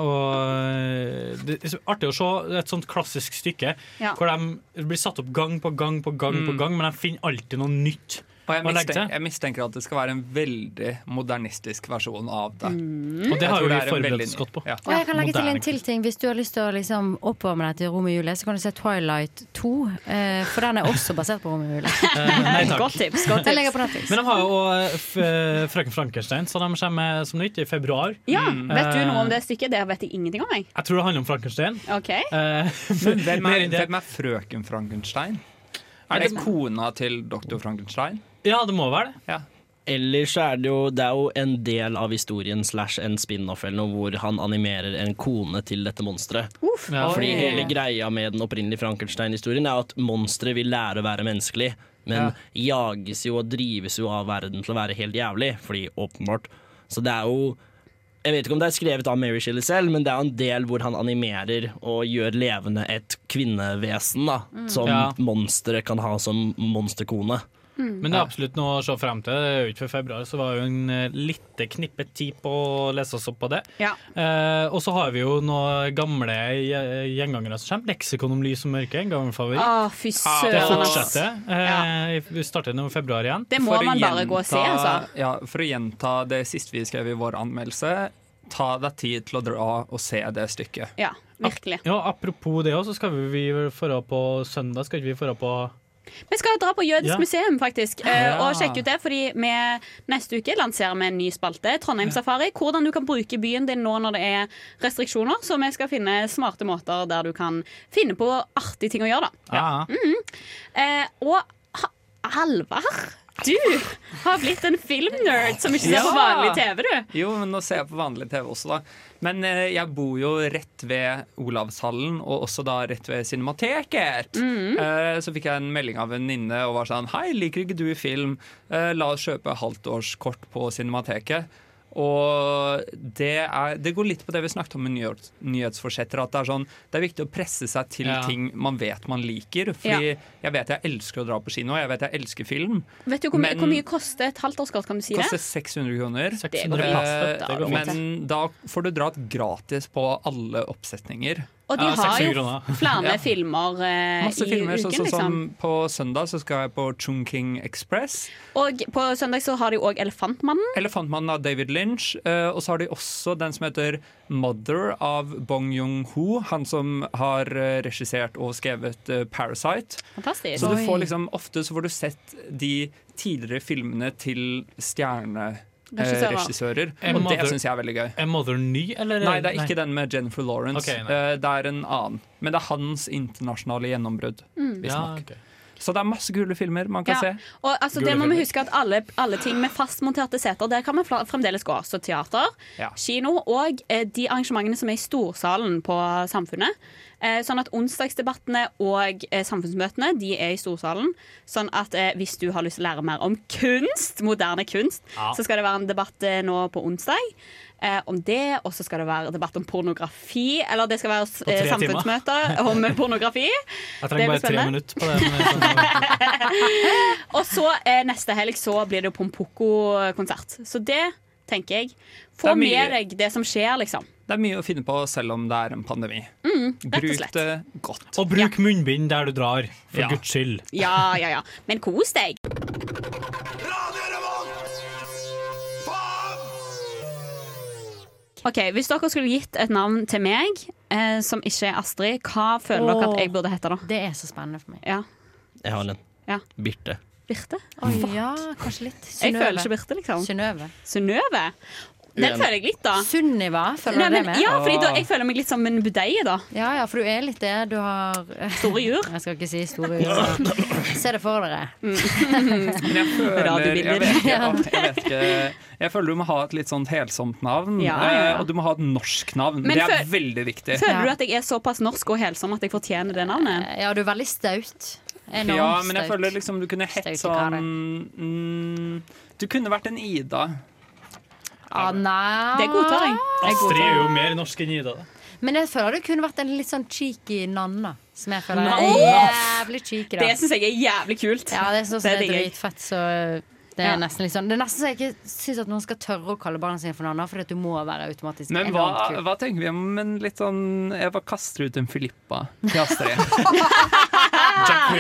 S4: Og det er så artig å se et sånt klassisk stykke
S9: Ja.
S4: hvor de blir satt opp gang på gang på gang, på
S9: Mm.
S4: gang men de finner alltid noe nytt.
S9: Og jeg
S4: å legge
S9: mistenker,
S4: til.
S9: jeg mistenker at det skal være en veldig modernistisk versjon av det.
S8: Mm.
S4: Og det
S9: Jeg
S4: har
S9: tror er
S4: jo vi
S9: en
S4: forberedt
S9: veldig
S4: oss
S9: ny-
S4: godt på.
S9: Ja.
S14: Og jeg kan legge til
S4: Moderne
S14: en til ting. Hvis du har lyst til å liksom oppvarme deg til Romeo og Julie, så kan du se Twilight 2. eh, For den er også basert på Romeo og Julie.
S4: Eh, nei takk.
S8: Godt tips.
S14: Den ligger på Netflix.
S4: Men de har jo også, eh, f- Frøken Frankenstein, så de kommer med som nytt i februar.
S8: Ja, Vet du noe om
S4: Eh,
S8: det stykket? Det vet jeg ingenting om. jeg
S4: Jeg tror det handler om Frankenstein. Eh,
S8: Ok
S4: Men
S9: Hvem er, hvem er frøken Frankenstein? Er det kona til doktor Frankenstein?
S4: Ja, det må være det.
S10: Ellers så er det jo Det er jo en del av historien slash en spin-off eller noe hvor han animerer en kone til dette monsteret.
S4: Ja.
S10: Fordi
S4: Oi.
S10: hele greia med den opprinnelige Frankenstein-historien er at monsteret vil lære å være menneskelig, men jages jo og drives jo av verden til å være helt jævlig, fordi åpenbart. Så det er jo Jeg vet ikke om det er skrevet av Mary Shelley selv, men det er en del hvor han animerer og gjør levende et kvinnevesen, da,
S4: Mm.
S10: som
S4: Ja.
S10: monsteret kan ha som monsterkone.
S4: Men det er absolutt noe å se frem til. Det er jo ikke før februar, så var jo en eh, lite knippet tid på å lese oss opp på det.
S8: Ja.
S4: Eh, og så har vi jo noen gamle gje- gjengangere som kommer. 'Leksikon om lys og mørke', en gammel favoritt.
S8: Å, fy
S4: det
S8: Ah, søren, ass.
S4: fortsetter. Eh, Vi starter nå i februar igjen.
S8: Det må
S9: For å
S8: man bare gå og se,
S9: gjenta-
S8: altså.
S9: Ja, for å gjenta det siste vi skrev i vår anmeldelse, ta deg tid til å dra og se det stykket.
S8: Ja, virkelig.
S4: Ja, apropos det også, så skal vi vel dra på søndag. Skal ikke vi dra på
S8: Vi skal dra på Jødisk
S4: Ja.
S8: museum, faktisk, eh,
S4: Ja.
S8: og sjekke ut det. Fordi vi neste uke lanserer vi en ny spalte, Trondheim Safari. Hvordan du kan bruke byen din nå når det er restriksjoner. Så vi skal finne smarte måter der du kan finne på artige ting å gjøre, da.
S4: Ja.
S8: Mhm. Eh, og ha Halvard, du har blitt en filmnerd som ikke ser på vanlig TV, du.
S9: Jo, men nå ser jeg på vanlig TV også, da. Men eh, jeg bor jo rett ved Olavshallen, og også da rett ved Cinemateket. Eh, så fikk jeg en melding av en venninne og var sånn Hei, liker ikke du film? Eh, la oss kjøpe halvtårskort på Cinemateket. Og det, er, det går litt på det vi snakket om med nyhets, nyhetsforsetter. At det er, sånn, det er viktig å presse seg til
S4: Ja.
S9: ting man vet man liker. Fordi
S8: Ja.
S9: jeg vet jeg elsker å dra på kino, jeg vet jeg elsker film.
S8: Vet du hvor,
S9: Men-
S8: mye- hvor mye koster et halvt årskort? Kan du si
S9: Koster
S8: det?
S9: 600 kroner.
S8: Det går fint.
S9: Eh,
S8: Det går fint.
S9: Men da får du dra gratis på alle oppsetninger.
S8: Og de har jo flere filmer eh,
S9: Masse
S8: i
S9: filmer,
S8: uken,
S9: sånn
S8: liksom.
S9: som på søndag så skal jeg på Chungking Express.
S8: Og på søndag så har de òg Elefantmannen.
S9: Elefantmannen av David Lynch. eh, Og så har de også den som heter Mother av Bong Jung-ho. Han som har eh, regissert og skrevet eh, Parasite.
S8: Fantastisk.
S9: Så du får liksom, ofte så får du sett de tidligere filmene til
S4: Regissører.
S9: stjerneregissører.
S4: Er
S9: Og
S4: Mother-
S9: det syns jeg er veldig gøy.
S4: Er Mother ny, eller?
S9: Nei, det er ikke den med Jennifer Lawrence.
S4: Ok,
S9: Eh, det er en annen. Men det er hans internasjonale gjennombrudd.
S8: Mm. Ja,
S9: visstnok. Så det er masse kule filmer man kan
S8: Ja.
S9: se.
S8: Og altså,
S9: Gule
S8: det må vi
S9: filmer.
S8: huske at alle, alle ting med fastmonterte seter, der kan vi fla- fremdeles gå. Så teater,
S9: Ja.
S8: kino og eh, de arrangementene som er i storsalen på Samfunnet. Eh, sånn at onsdagsdebattene og eh, samfunnsmøtene de er i storsalen. Sånn at eh, hvis du har lyst til å lære mer om kunst, moderne kunst,
S13: Ja.
S8: så skal det være en debatt eh, nå på onsdag. Eh, om det, og så skal det være debatt om pornografi. Eller det skal være eh,
S4: tre timer.
S8: samfunnsmøte om pornografi.
S4: Jeg
S8: Det blir
S4: trenger bare tre
S8: spennende.
S4: minutter på det. men-
S8: Og så eh, neste helg så blir det jo Pompoko-konsert. Så det tenker jeg. Få
S9: Det er mye.
S8: med deg det som skjer, liksom.
S9: Det er mye å finne på selv om det er en pandemi.
S8: Mm, rett og
S9: Bruk
S8: slett.
S9: det godt.
S4: Og bruk munnbind der du drar, for
S9: Ja.
S4: guds skyld.
S8: Ja, ja, ja. Men kos deg. OK, hvis dere skulle gitt et navn til meg eh, som ikke er Astrid, hva føler dere at jeg burde hete da?
S14: Det er så spennende for meg.
S8: Ja.
S10: Jeg har en.
S8: Ja.
S10: Birte.
S8: Birte?
S14: Oi, ja, kanskje litt.
S8: Jeg føler ikke Birte, liksom.
S14: Synnøve.
S8: Synnøve? Den
S14: Uenig.
S8: føler jeg litt, da.
S14: Sunniva, føler
S8: Nei,
S14: du det
S8: men-
S14: med?
S8: Ja, fordi da, jeg føler meg litt som en budeie, da.
S14: Ja, ja, for du er litt det. Du har
S8: Store jur.
S14: Jeg skal ikke si store jur. Se det for dere.
S9: Men jeg føler jeg vet, ikke,
S14: Ja.
S9: jeg vet ikke Jeg føler du må ha et litt sånn helsomt navn.
S8: Ja, ja, ja.
S9: eh, Og du må ha et norsk navn.
S8: Men
S9: det er
S8: føl-
S9: veldig viktig.
S8: Føler du at jeg er såpass norsk og helsom at jeg fortjener det navnet?
S14: Ja, du er veldig staut.
S9: ja, men jeg føler liksom du kunne hett sånn mm, Du kunne vært en Ida.
S14: ah, nei.
S9: Det godtar jeg.
S14: Jeg
S4: Astrid
S14: godtar.
S4: er jo mer norsk enn Ida. da.
S14: Men jeg føler det kunne vært en litt sånn cheeky nanna. Som jeg føler
S8: Nanna.
S14: er jævlig cheeky. da.
S8: Det syns jeg er jævlig kult.
S14: Ja, det er sånn som er
S8: digger jeg.
S14: dritfett, så det er
S8: Ja.
S14: nesten litt sånn Det er nesten så jeg ikke syns at noen skal tørre å kalle barna sine for nanna, fordi at du må være automatisk
S9: Men hva,
S14: enormt kul.
S9: hva tenker vi om en litt sånn Jeg bare kaster ut en Filippa til Astrid.
S8: Da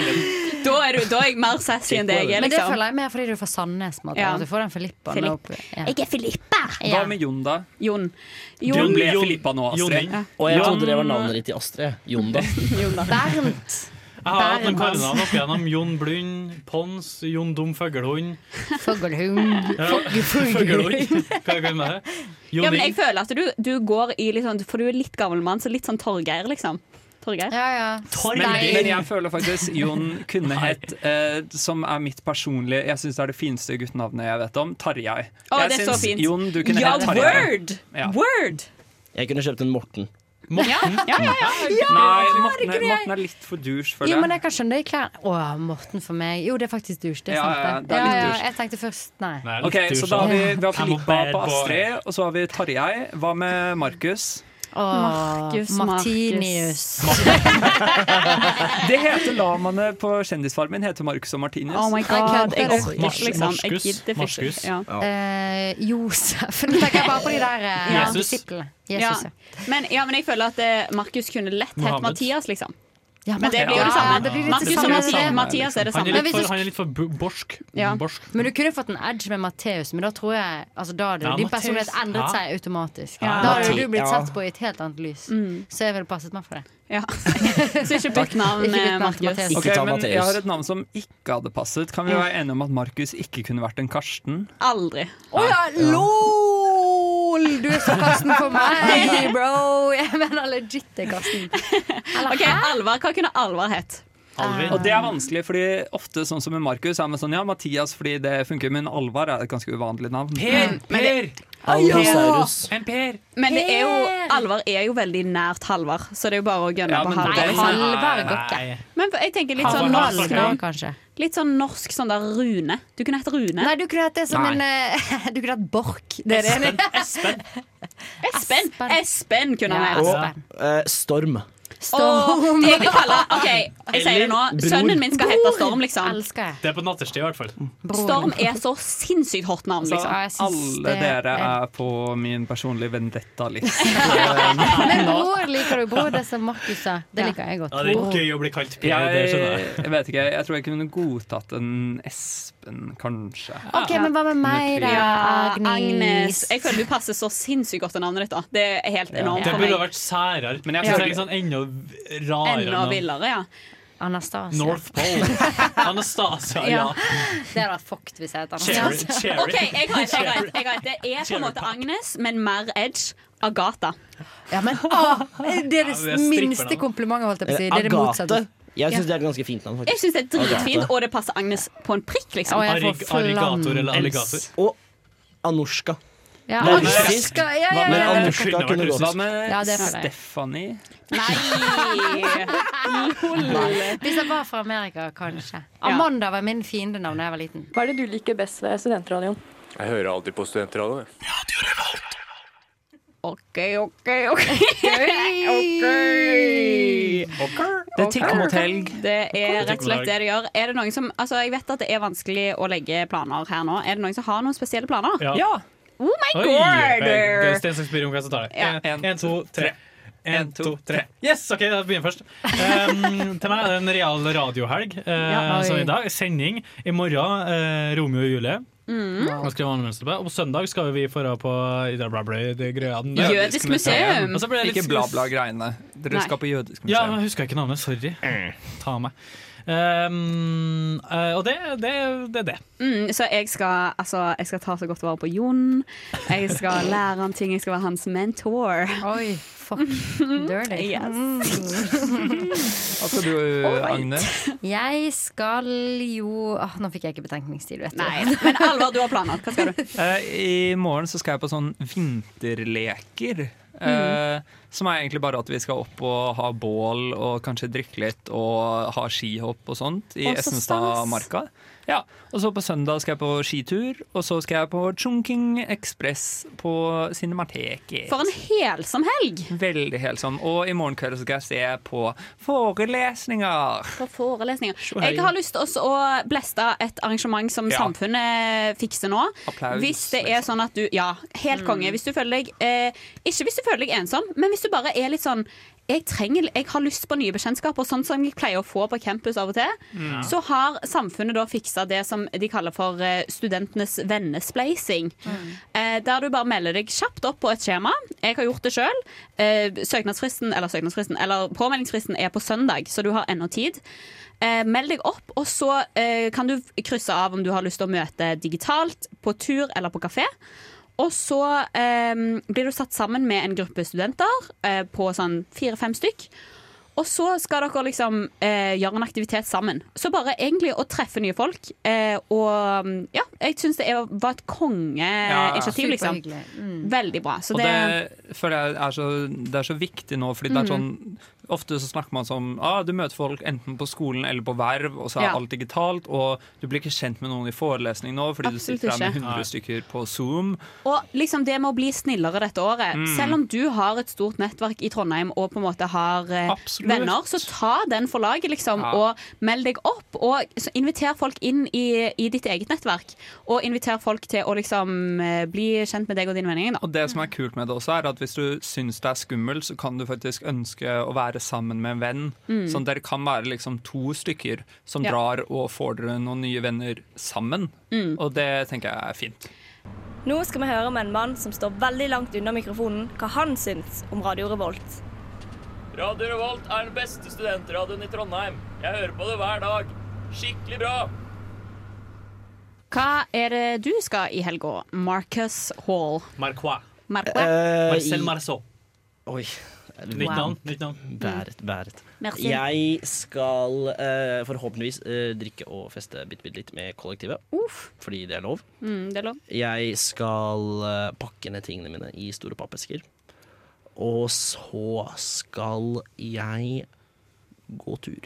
S8: er, du, da er jeg mer sassy enn deg.
S14: Men det
S8: Liksom.
S14: føler jeg mer fordi du er fra Sandnes. på en måte,
S8: Ja.
S14: At du får den Filippaen
S8: Filipp.
S14: opp. Ja.
S8: Jeg er Filippa!
S9: Hva med Jon, da?
S8: Jon.
S9: Du ble Filippa nå, Astrid.
S10: Jonny. Og jeg trodde det var navnet ditt i Astrid. Jonda.
S14: Bernt.
S4: Jeg har hatt noen
S14: Bernt.
S4: kallenavn opp igjennom. Jon Blund, Pons, Jon Dum Føglehund.
S14: Fuglehund.
S4: Ja, Føglehund.
S14: Fuglehund.
S4: Hva er det med det?
S8: Ja, men
S4: Joni.
S8: jeg føler at du, du går i litt sånn For du er litt gammel mann, så litt sånn Torgeir, liksom. Torgeir.
S14: Ja, ja.
S9: Men, men jeg føler faktisk Jon kunne hett, eh, som er mitt personlige Jeg syns det er det fineste guttenavnet jeg vet om, Tarjei.
S8: Å,
S9: jeg
S8: det er så
S9: syns
S8: fint.
S9: Jon, du kunne
S8: Ja,
S9: hett Tarjei.
S8: word! Word!
S10: Jeg kunne kjøpt en Morten.
S4: Morten?
S14: Ja, ja, ja. Ja,
S9: Nei,
S14: herregud,
S9: Morten er,
S14: jeg-
S9: Morten er litt for douche, føler
S14: Jo, men jeg kan skjønne det i klærne. Å, Morten for meg. Jo, det er faktisk dusj. Det er
S9: Ja, ja,
S14: sant, det.
S9: det er litt dusj.
S14: jeg tenkte først Nei.
S9: Ok, Så da har vi, vi har Filippa på Astrid, og så har vi Tarjei. Hva med Markus?
S14: Markus, Martinius.
S9: Det heter lamaene på Kjendisfarmen. Heter Markus og Martinus.
S14: Oh my god, jeg gidder ikke,
S9: Mars-
S14: liksom.
S8: Jeg gidder ikke.
S9: Marskus.
S8: Ja.
S14: Eh, Josef. Nå tenker jeg bare på de der eh,
S8: Ja.
S14: disiplene.
S8: Ja.
S14: Jesus, ja.
S8: Men, ja, men jeg føler at eh, Markus kunne lett hett
S4: Mohammed.
S8: Mathias, liksom.
S14: Ja,
S8: men det
S14: Markus.
S8: blir jo det
S14: Ja,
S8: samme.
S14: det blir litt
S8: Markus
S14: det
S8: og
S14: samme.
S8: Mathias,
S14: Det-
S8: Mathias er sånn det
S4: Han
S8: samme.
S4: er litt
S14: Men hvis
S4: for,
S14: du-
S4: han er litt for bu- borsk.
S14: Ja.
S4: borsk.
S14: Men du kunne fått en edge med Matteus, men da tror jeg altså, da hadde
S4: Ja,
S14: din
S4: Matteus.
S14: personlighet endret
S4: Ja.
S14: seg automatisk.
S4: Ja.
S14: Da hadde
S4: Matte-
S14: du blitt
S4: ja.
S14: sett på i et helt annet lys.
S8: Mm.
S14: Så jeg ville passet meg for det.
S8: Så ikke bytt navn,
S14: Ikke bytt
S8: eh,
S14: navn til
S8: Markus.
S14: Mathias.
S9: Ok,
S14: Ikke ta
S9: men
S14: Matteus.
S9: Jeg har et navn som ikke hadde passet. Kan vi være enige om at Markus ikke kunne vært en Karsten?
S8: Aldri.
S14: Å ja, lol! Du er så Karsten for meg, bro! Jeg mener legit det, Karsten.
S8: Ok, Alvar, Hva kunne Alvar hett?
S9: Og det er vanskelig, fordi ofte sånn som med Markus er man sånn ja, Mathias fordi det funker, men Alvar er et ganske uvanlig navn.
S8: Per, Men det-
S9: Alvasaurus. En Per!
S8: Men det er jo, Alvar er jo veldig nært Halvar, så det er jo bare å gønne
S9: Ja,
S8: på
S9: men
S8: Halvar.
S9: det-
S8: liksom.
S9: Halvar går ikke.
S8: Men jeg tenker litt sånn
S14: Halvar
S8: norsk.
S14: Halvar, kanskje.
S8: Litt sånn norsk sånn der Rune. Du kunne hett Rune.
S14: Nei, du kunne hatt det som
S8: Nei.
S14: en eh, Du kunne hatt Borch. Det er det enig i.
S8: Espen! Espen kunne
S10: Ja,
S8: han
S10: og
S8: hett.
S10: eh, Storm.
S8: Åh, det jeg vil kalle OK, jeg sier det nå.
S10: Eller bror.
S8: Sønnen min skal hete Storm, liksom.
S4: Det er på nattestid, i hvert fall.
S8: Storm er så sinnssykt hot navn,
S9: Så
S8: liksom.
S9: alle dere er på min personlige vendetta-liste.
S14: Men bror liker du. Bror, det som Markus sa. Det liker jeg godt. Bror.
S9: gøy å bli kalt
S4: Per, det skjønner jeg.
S9: Jeg vet ikke, jeg tror jeg kunne godtatt en Espen, kanskje.
S14: Ok, men hva med meg, da?
S8: Ja,
S14: Agnes.
S8: Ah, Agnes. Jeg føler du passer så sinnssykt godt til navnet ditt. da Det er helt enormt
S4: Det
S8: for
S4: burde
S8: meg.
S4: ha vært særere. Men
S9: jeg
S4: jeg
S9: føler-
S4: trenger sånn enda rarere
S8: Enda
S4: navn.
S8: villere, ja.
S14: Anastasia.
S4: North Pole. Anastasia, ja.
S14: Det hadde vært fucked hvis jeg het
S4: Cherry,
S14: Anastasia.
S4: cherry.
S8: OK, jeg har et. Jeg har et. Jeg har et. Det er på en måte Agnes, men mer edge. Agatha.
S14: Ja, men ah, Det er
S10: Ja, det
S14: det
S10: er
S14: minste
S10: strippernavn.
S14: komplimentet, holdt jeg på å si. Det er det motsatte.
S10: Agate. Jeg syns
S8: Ja.
S10: det er et ganske fint navn. faktisk.
S8: Jeg syns det er dritfint,
S10: Agathe.
S8: og det passer Agnes på en prikk, liksom.
S10: Å, jeg får Arrig- flam. arrigator eller alligator? Og Anorska.
S8: Ja,
S10: Det er
S8: Anorska,
S10: russisk,
S8: ja, ja, ja,
S10: men
S8: ja, ja.
S10: Anorska
S8: Kunne vært
S10: kunne gått.
S9: Hva med
S14: Ja, det er for deg.
S9: Stephanie?
S14: Hvis jeg var fra Amerika, kanskje. Amanda var min fiendenavn da jeg var liten. Hva er det du liker best ved studentradioen?
S21: Jeg hører alltid på studentradioen.
S8: OK, OK, OK.
S9: Det tikker mot helg.
S8: Det er rett og slett det det gjør. Er det noen som, altså Jeg vet at det er vanskelig å legge planer her nå. Er det noen som har noen spesielle planer?
S4: Ja.
S8: Oh my
S4: Oi, jeg-
S8: god!
S4: Sten Saks Byrom, hva som tar det?
S8: Ja.
S4: En, en, to, tre. En, to, tre. Yes, OK, jeg begynner først. Um, til meg er det en real radiohelg, uh,
S20: Ja, oi.
S4: som i dag. Sending. I morgen eh, Romeo og Julie.
S20: Mm.
S4: Og skrive anmeldelse på. Og på søndag skal vi dra på i det bla, bla, det greien der.
S9: Jødisk museum.
S4: Og så ble jeg litt
S9: Ikke
S4: skuff-
S9: bla-bla-greiene. Dere
S4: Nei.
S9: skal på jødisk
S4: Ja,
S9: museum.
S4: men jeg husker ikke navnet. Sorry. Ta meg. Um, eh, og det det- det er det.
S8: Mm, så jeg skal, altså, jeg skal ta så godt vare på Jon. Jeg skal lære han ting. Jeg skal være hans mentor.
S14: Oi, fuck. Dirty. Mm.
S9: Hva skal du, Agnes?
S14: Jeg skal jo Åh, Nå fikk jeg ikke betenkningstid, vet du.
S8: Nei, men Alvar, du har planer. Hva skal du?
S9: Eh, I morgen så skal jeg på sånn vinterleker.
S8: Mm.
S9: eh, Som er egentlig bare at vi skal opp og ha bål og kanskje drikke litt og ha skihopp og sånt i
S20: Å, så
S9: Essenstadmarka. Ja, og så på søndag skal jeg på skitur, og så skal jeg på Chungking Express på Cinemateket.
S8: For en helsom helg!
S9: Veldig helsom. Og i morgen kveld så skal jeg se på forelesninger.
S8: På forelesninger. Jeg har lyst til også å bleste et arrangement som
S9: Ja.
S8: samfunnet fikser nå.
S9: Applaus,
S8: hvis det er sånn at du Ja, helt konge. Hvis du føler deg eh, Ikke hvis du føler deg ensom, men hvis du bare er litt sånn jeg, trenger, jeg har lyst på nye bekjentskaper, sånn som jeg pleier å få på campus av og til.
S13: Mm.
S8: Så har samfunnet da fiksa det som de kaller for eh, studentenes vennespleising. Eh, Der du bare melder deg kjapt opp på et skjema. Jeg har gjort det sjøl. Søknadsfristen, eller søknadsfristen, eller påmeldingsfristen er på søndag, så du har ennå tid. Eh, Meld deg opp, og så eh, kan du krysse av om du har lyst til å møte digitalt, på tur eller på kafé. Og så eh, blir du satt sammen med en gruppe studenter eh, på sånn fire-fem stykk. Og så skal dere liksom eh, gjøre en aktivitet sammen. Så bare egentlig å treffe nye folk. Eh, og ja, jeg syns det er- var et
S9: Ja, ja.
S8: kongeinitiativ, liksom.
S9: Superhyggelig.
S14: Mm.
S8: Veldig bra. Så
S9: og
S8: det, Mm.
S9: det føler jeg er så, det er så viktig nå, fordi det er sånn Ofte så snakker man som ah, du møter folk enten på skolen eller på verv, og så er
S8: Ja.
S9: alt digitalt, og du blir ikke kjent med noen i forelesning nå fordi du
S8: Absolutt
S9: sitter der med
S8: ikke.
S9: 100 stykker på Zoom.
S8: Og liksom det med å bli snillere dette året.
S9: Mm.
S8: Selv om du har et stort nettverk i Trondheim og på en måte har eh, venner, så ta den for laget, liksom,
S22: Ja.
S8: og meld deg opp. Og så inviter folk inn i, i ditt eget nettverk, og inviter folk til å liksom eh, bli kjent med deg og dine venner.
S9: Og det som er kult med det også, er at hvis du syns det er skummelt, så kan du faktisk ønske å være sammen med en venn.
S8: Mm.
S9: Sånn dere kan være liksom to stykker som
S8: Ja.
S9: drar og får dere noen nye venner sammen.
S8: Mm.
S9: Og det tenker jeg er fint.
S1: Nå skal vi høre med en mann som står veldig langt unna mikrofonen, hva han syns om Radio Revolt.
S23: Radio Revolt er den beste studentradioen i Trondheim. Jeg hører på det hver dag. Skikkelig bra!
S8: Hva er det du skal i helga, Marcus Hall?
S4: Marquois.
S10: Eh,
S8: Marquois?
S4: Marcel Marceau.
S10: Oi.
S4: Nytt navn. Nytt navn.
S10: Bæret, bæret.
S4: Merci.
S10: Jeg skal eh, forhåpentligvis eh, drikke og feste bitte, bitte litt med kollektivet. Fordi det er lov.
S8: Mm, det er lov.
S10: Jeg skal eh, pakke ned tingene mine i store pappesker. Og så skal jeg gå tur.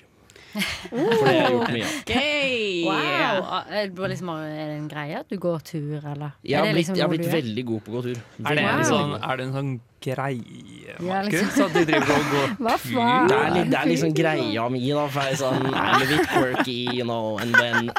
S10: For det har jeg gjort mye av.
S8: Gøy!
S14: Wow. Er det liksom, er det en greie at du går tur, eller?
S10: Jeg
S14: Er
S10: har
S14: det
S10: blitt,
S14: liksom
S10: jeg har
S14: noe
S10: blitt
S14: du gjør?
S10: veldig god på å gå tur.
S9: Er det, en
S10: Veldig
S9: sånn,
S10: god.
S9: er det en sånn greie,
S10: Ja,
S9: Markus?
S10: liksom.
S9: At du driver og går
S10: Hva
S9: faen?
S10: Det er, litt, det er liksom greia mi, da. For jeg er sånn I'm a bit quirky, you know. And then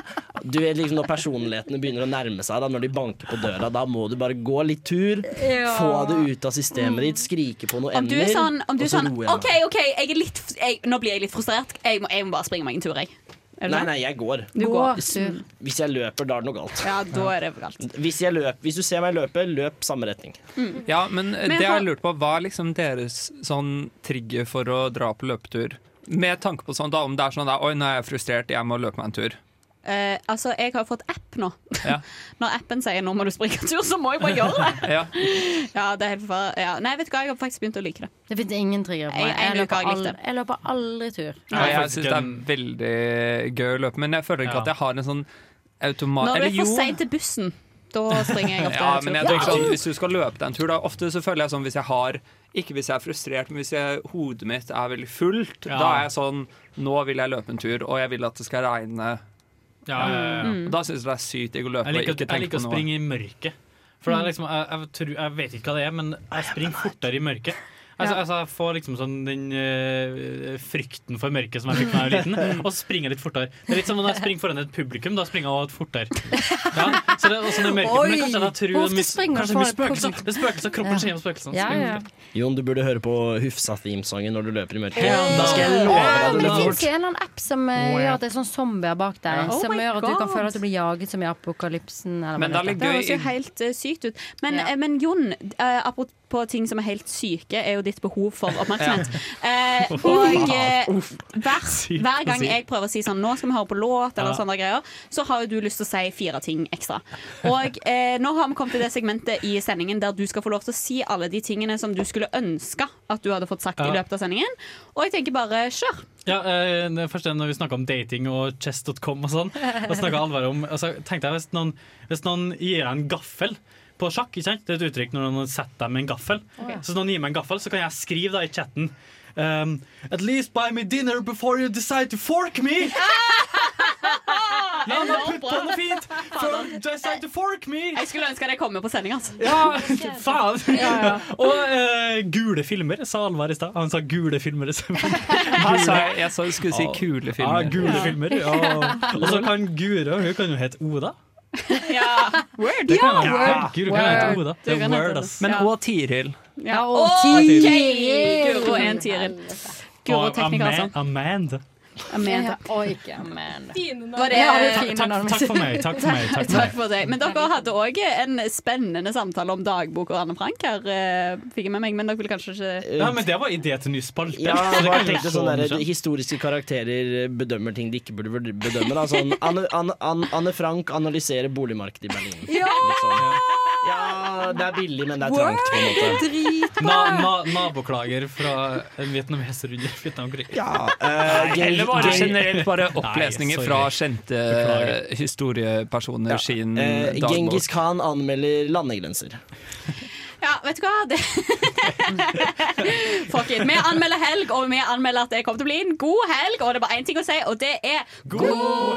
S10: Du vet liksom Når personlighetene begynner å nærme seg, da når de banker på døra, da må du bare gå litt tur.
S8: Ja.
S10: Få det ut av systemet ditt, skrike på noen
S8: Om du
S10: ender,
S8: er sånn, om du
S10: og
S8: er
S10: så
S8: sånn
S10: roer jeg
S8: OK, OK, jeg er litt, jeg, nå blir jeg litt frustrert. Jeg må, jeg må bare springe meg en tur, jeg. Er det
S10: meg. Nei,
S8: sånn?
S10: nei, jeg går.
S8: Du går.
S10: Hvis, hvis jeg løper, da er det noe galt.
S8: Ja, da er det galt.
S10: Hvis, jeg løper, hvis du ser meg løpe, løp samme retning.
S9: Ja, men, eh,
S10: Men
S9: det
S10: har-
S9: jeg lurte på, hva er liksom deres sånn trigger for å dra på løpetur? Med tanke på sånn da, om det er sånn da, oi, nå er jeg frustrert, jeg må løpe meg en tur.
S8: Eh, altså, jeg har jo fått app nå.
S9: Ja.
S8: Når appen sier 'nå må du springe en tur', så må jeg bare gjøre det.
S9: Ja.
S8: Ja, det er helt forferdelig. ja. Nei, vet du hva, jeg har faktisk begynt å like det.
S14: Det finnes ingen trigger på
S8: Jeg-
S14: meg.
S8: jeg
S14: Jeg
S8: liker
S14: løper,
S8: jeg likte.
S14: aldri, jeg løper aldri tur.
S9: Ja, jeg syns det er veldig gøy å løpe, men jeg føler ikke at jeg har en sånn automat...
S8: Når du
S9: eller
S8: er for
S9: jo.
S8: sein til bussen, da springer jeg ofte
S9: Ja,
S8: en tur.
S9: men jeg tenker sånn, Hvis du skal løpe deg en tur, da ofte så føler jeg sånn hvis jeg har Ikke hvis jeg er frustrert, men hvis jeg, hodet mitt er veldig fullt,
S4: Ja.
S9: da er jeg sånn Nå vil jeg løpe en tur, og jeg vil at det skal regne.
S4: Ja, ja, ja, ja.
S9: Og Da syns jeg det er sykt digg å løpe.
S4: Mm. Jeg liker,
S9: og ikke
S4: jeg
S9: tenke på
S4: liker å
S9: noe.
S4: springe i mørket. For det er liksom, jeg, jeg, tror, jeg vet ikke hva det er, men jeg springer fortere i mørket. Altså, Ja. altså, jeg får liksom sånn den eh, frykten for mørket som jeg fikk da jeg var liten, og så springer jeg litt fortere. Det er litt som når jeg springer foran et publikum, da springer jeg også fortere. Ja, så det er også det mørket, men
S10: Oi!
S4: kanskje jeg tror
S10: Hvor
S4: det
S10: ofte
S4: mis-
S10: springer
S4: kanskje
S10: du
S4: det blir
S10: foran et
S4: spøkelser. Det er spøkelser, kroppen ser gjennom spøkelsene. Ja, ja, ja.
S10: Jon, du burde høre på Hufsa-themesangen når du løper i mørket.
S4: Ja.
S10: Da skal jeg love deg
S14: Ja,
S10: at du
S14: men det
S10: løper
S14: fins
S10: fort.
S14: en eller annen app som eh,
S10: Wow.
S14: gjør at det er sånn zombier bak deg.
S10: Ja.
S14: Som
S8: Oh my
S14: gjør at du kan
S8: God.
S14: føle at du blir jaget som i apokalypsen. Eller
S9: Men det
S14: hva
S9: er litt
S8: Det
S14: heter.
S8: høres jo helt eh, sykt ut. Men, eh, men Jon, eh, apropos ting som er helt syke, er jo ditt behov for oppmerksomhet. Eh, og eh, hver, hver gang jeg prøver å si sånn 'nå skal vi høre på låt', eller
S22: Ja.
S8: sånne greier, så har jo du lyst til å si fire ting ekstra. Og eh, nå har vi kommet til det segmentet i sendingen der du skal få lov til å si alle de tingene som du skulle ønske at du hadde fått sagt i
S4: Ja.
S8: løpet av sendingen. Og jeg tenker bare kjør.
S4: Ja, eh, det første er når vi snakket om dating og chess.com og sånn, og snakket alvor om altså, tenkte jeg hvis noen, hvis noen gir deg en gaffel på sjakk, ikke sant? det er et uttrykk når noen setter deg med en gaffel,
S24: Ok.
S4: så hvis noen gir meg en gaffel, så kan jeg skrive da i chatten um, At least buy me dinner before you decide to fork me! La meg putte på noe fint! For decide to fork me!
S8: Jeg skulle ønske det kom med på sending, altså.
S4: Ja, faen! Og eh, gule filmer, sa Alvar i stad. Han sa gule filmer.
S9: Her sa jeg- jeg sa- skulle si
S4: Ja.
S9: kule filmer.
S4: Ja, Ah, gule
S9: Ja.
S4: filmer. Ja. Og så kan Gura Hun kan jo hete Oda.
S8: Word.
S4: Det kan jeg. Ja, Guro kan hete Oda. Det er word, ass.
S9: Men og Tiril.
S8: Ja,
S4: og
S8: OK!
S4: Tiril.
S8: Guro er en Tiril. Guro
S4: Og
S8: tekniker, altså.
S4: Ama- Amanda.
S8: Amanda.
S14: Og ikke Amanda.
S8: Da er det-
S14: Ja, det er
S4: fine Takk- navn. takk for meg, takk for meg, takk for meg.
S8: Takk for deg. Men dere hadde òg en spennende samtale om dagbok og Anne Frank her, eh, fikk jeg med meg. Men dere vil kanskje ikke
S4: Ja, men det var idé til ny spalte.
S10: Ja,
S4: Det
S10: jeg
S4: kan
S10: bare
S4: jeg
S10: tenkte
S4: se
S10: sånn
S4: om
S10: der,
S4: det skjer.
S10: Historiske karakterer eh, bedømmer ting de ikke burde vurd- bedømme. Da. Sånn, Anne, Anne, Anne, Anne Frank analyserer boligmarkedet i Berlin.
S8: Ja!
S10: Liksom. Ja, det er billig, men det er trangt. på en måte
S4: na, na, Naboklager fra en vietnameser under Vietnamkrig.
S9: Ja, eh,
S4: Nei,
S9: eller bare
S4: gay-
S9: generelt bare
S4: Nei,
S9: opplesninger
S4: sorry.
S9: fra kjente historiepersoner sin
S10: Eh,
S9: dagbok.
S10: Genghis Khan anmelder landegrenser.
S8: Ja, vet du hva? Det... Fuck it. Vi anmelder helg, og vi anmelder at det kommer til å bli en god helg. Og det er bare én ting å si, og det er god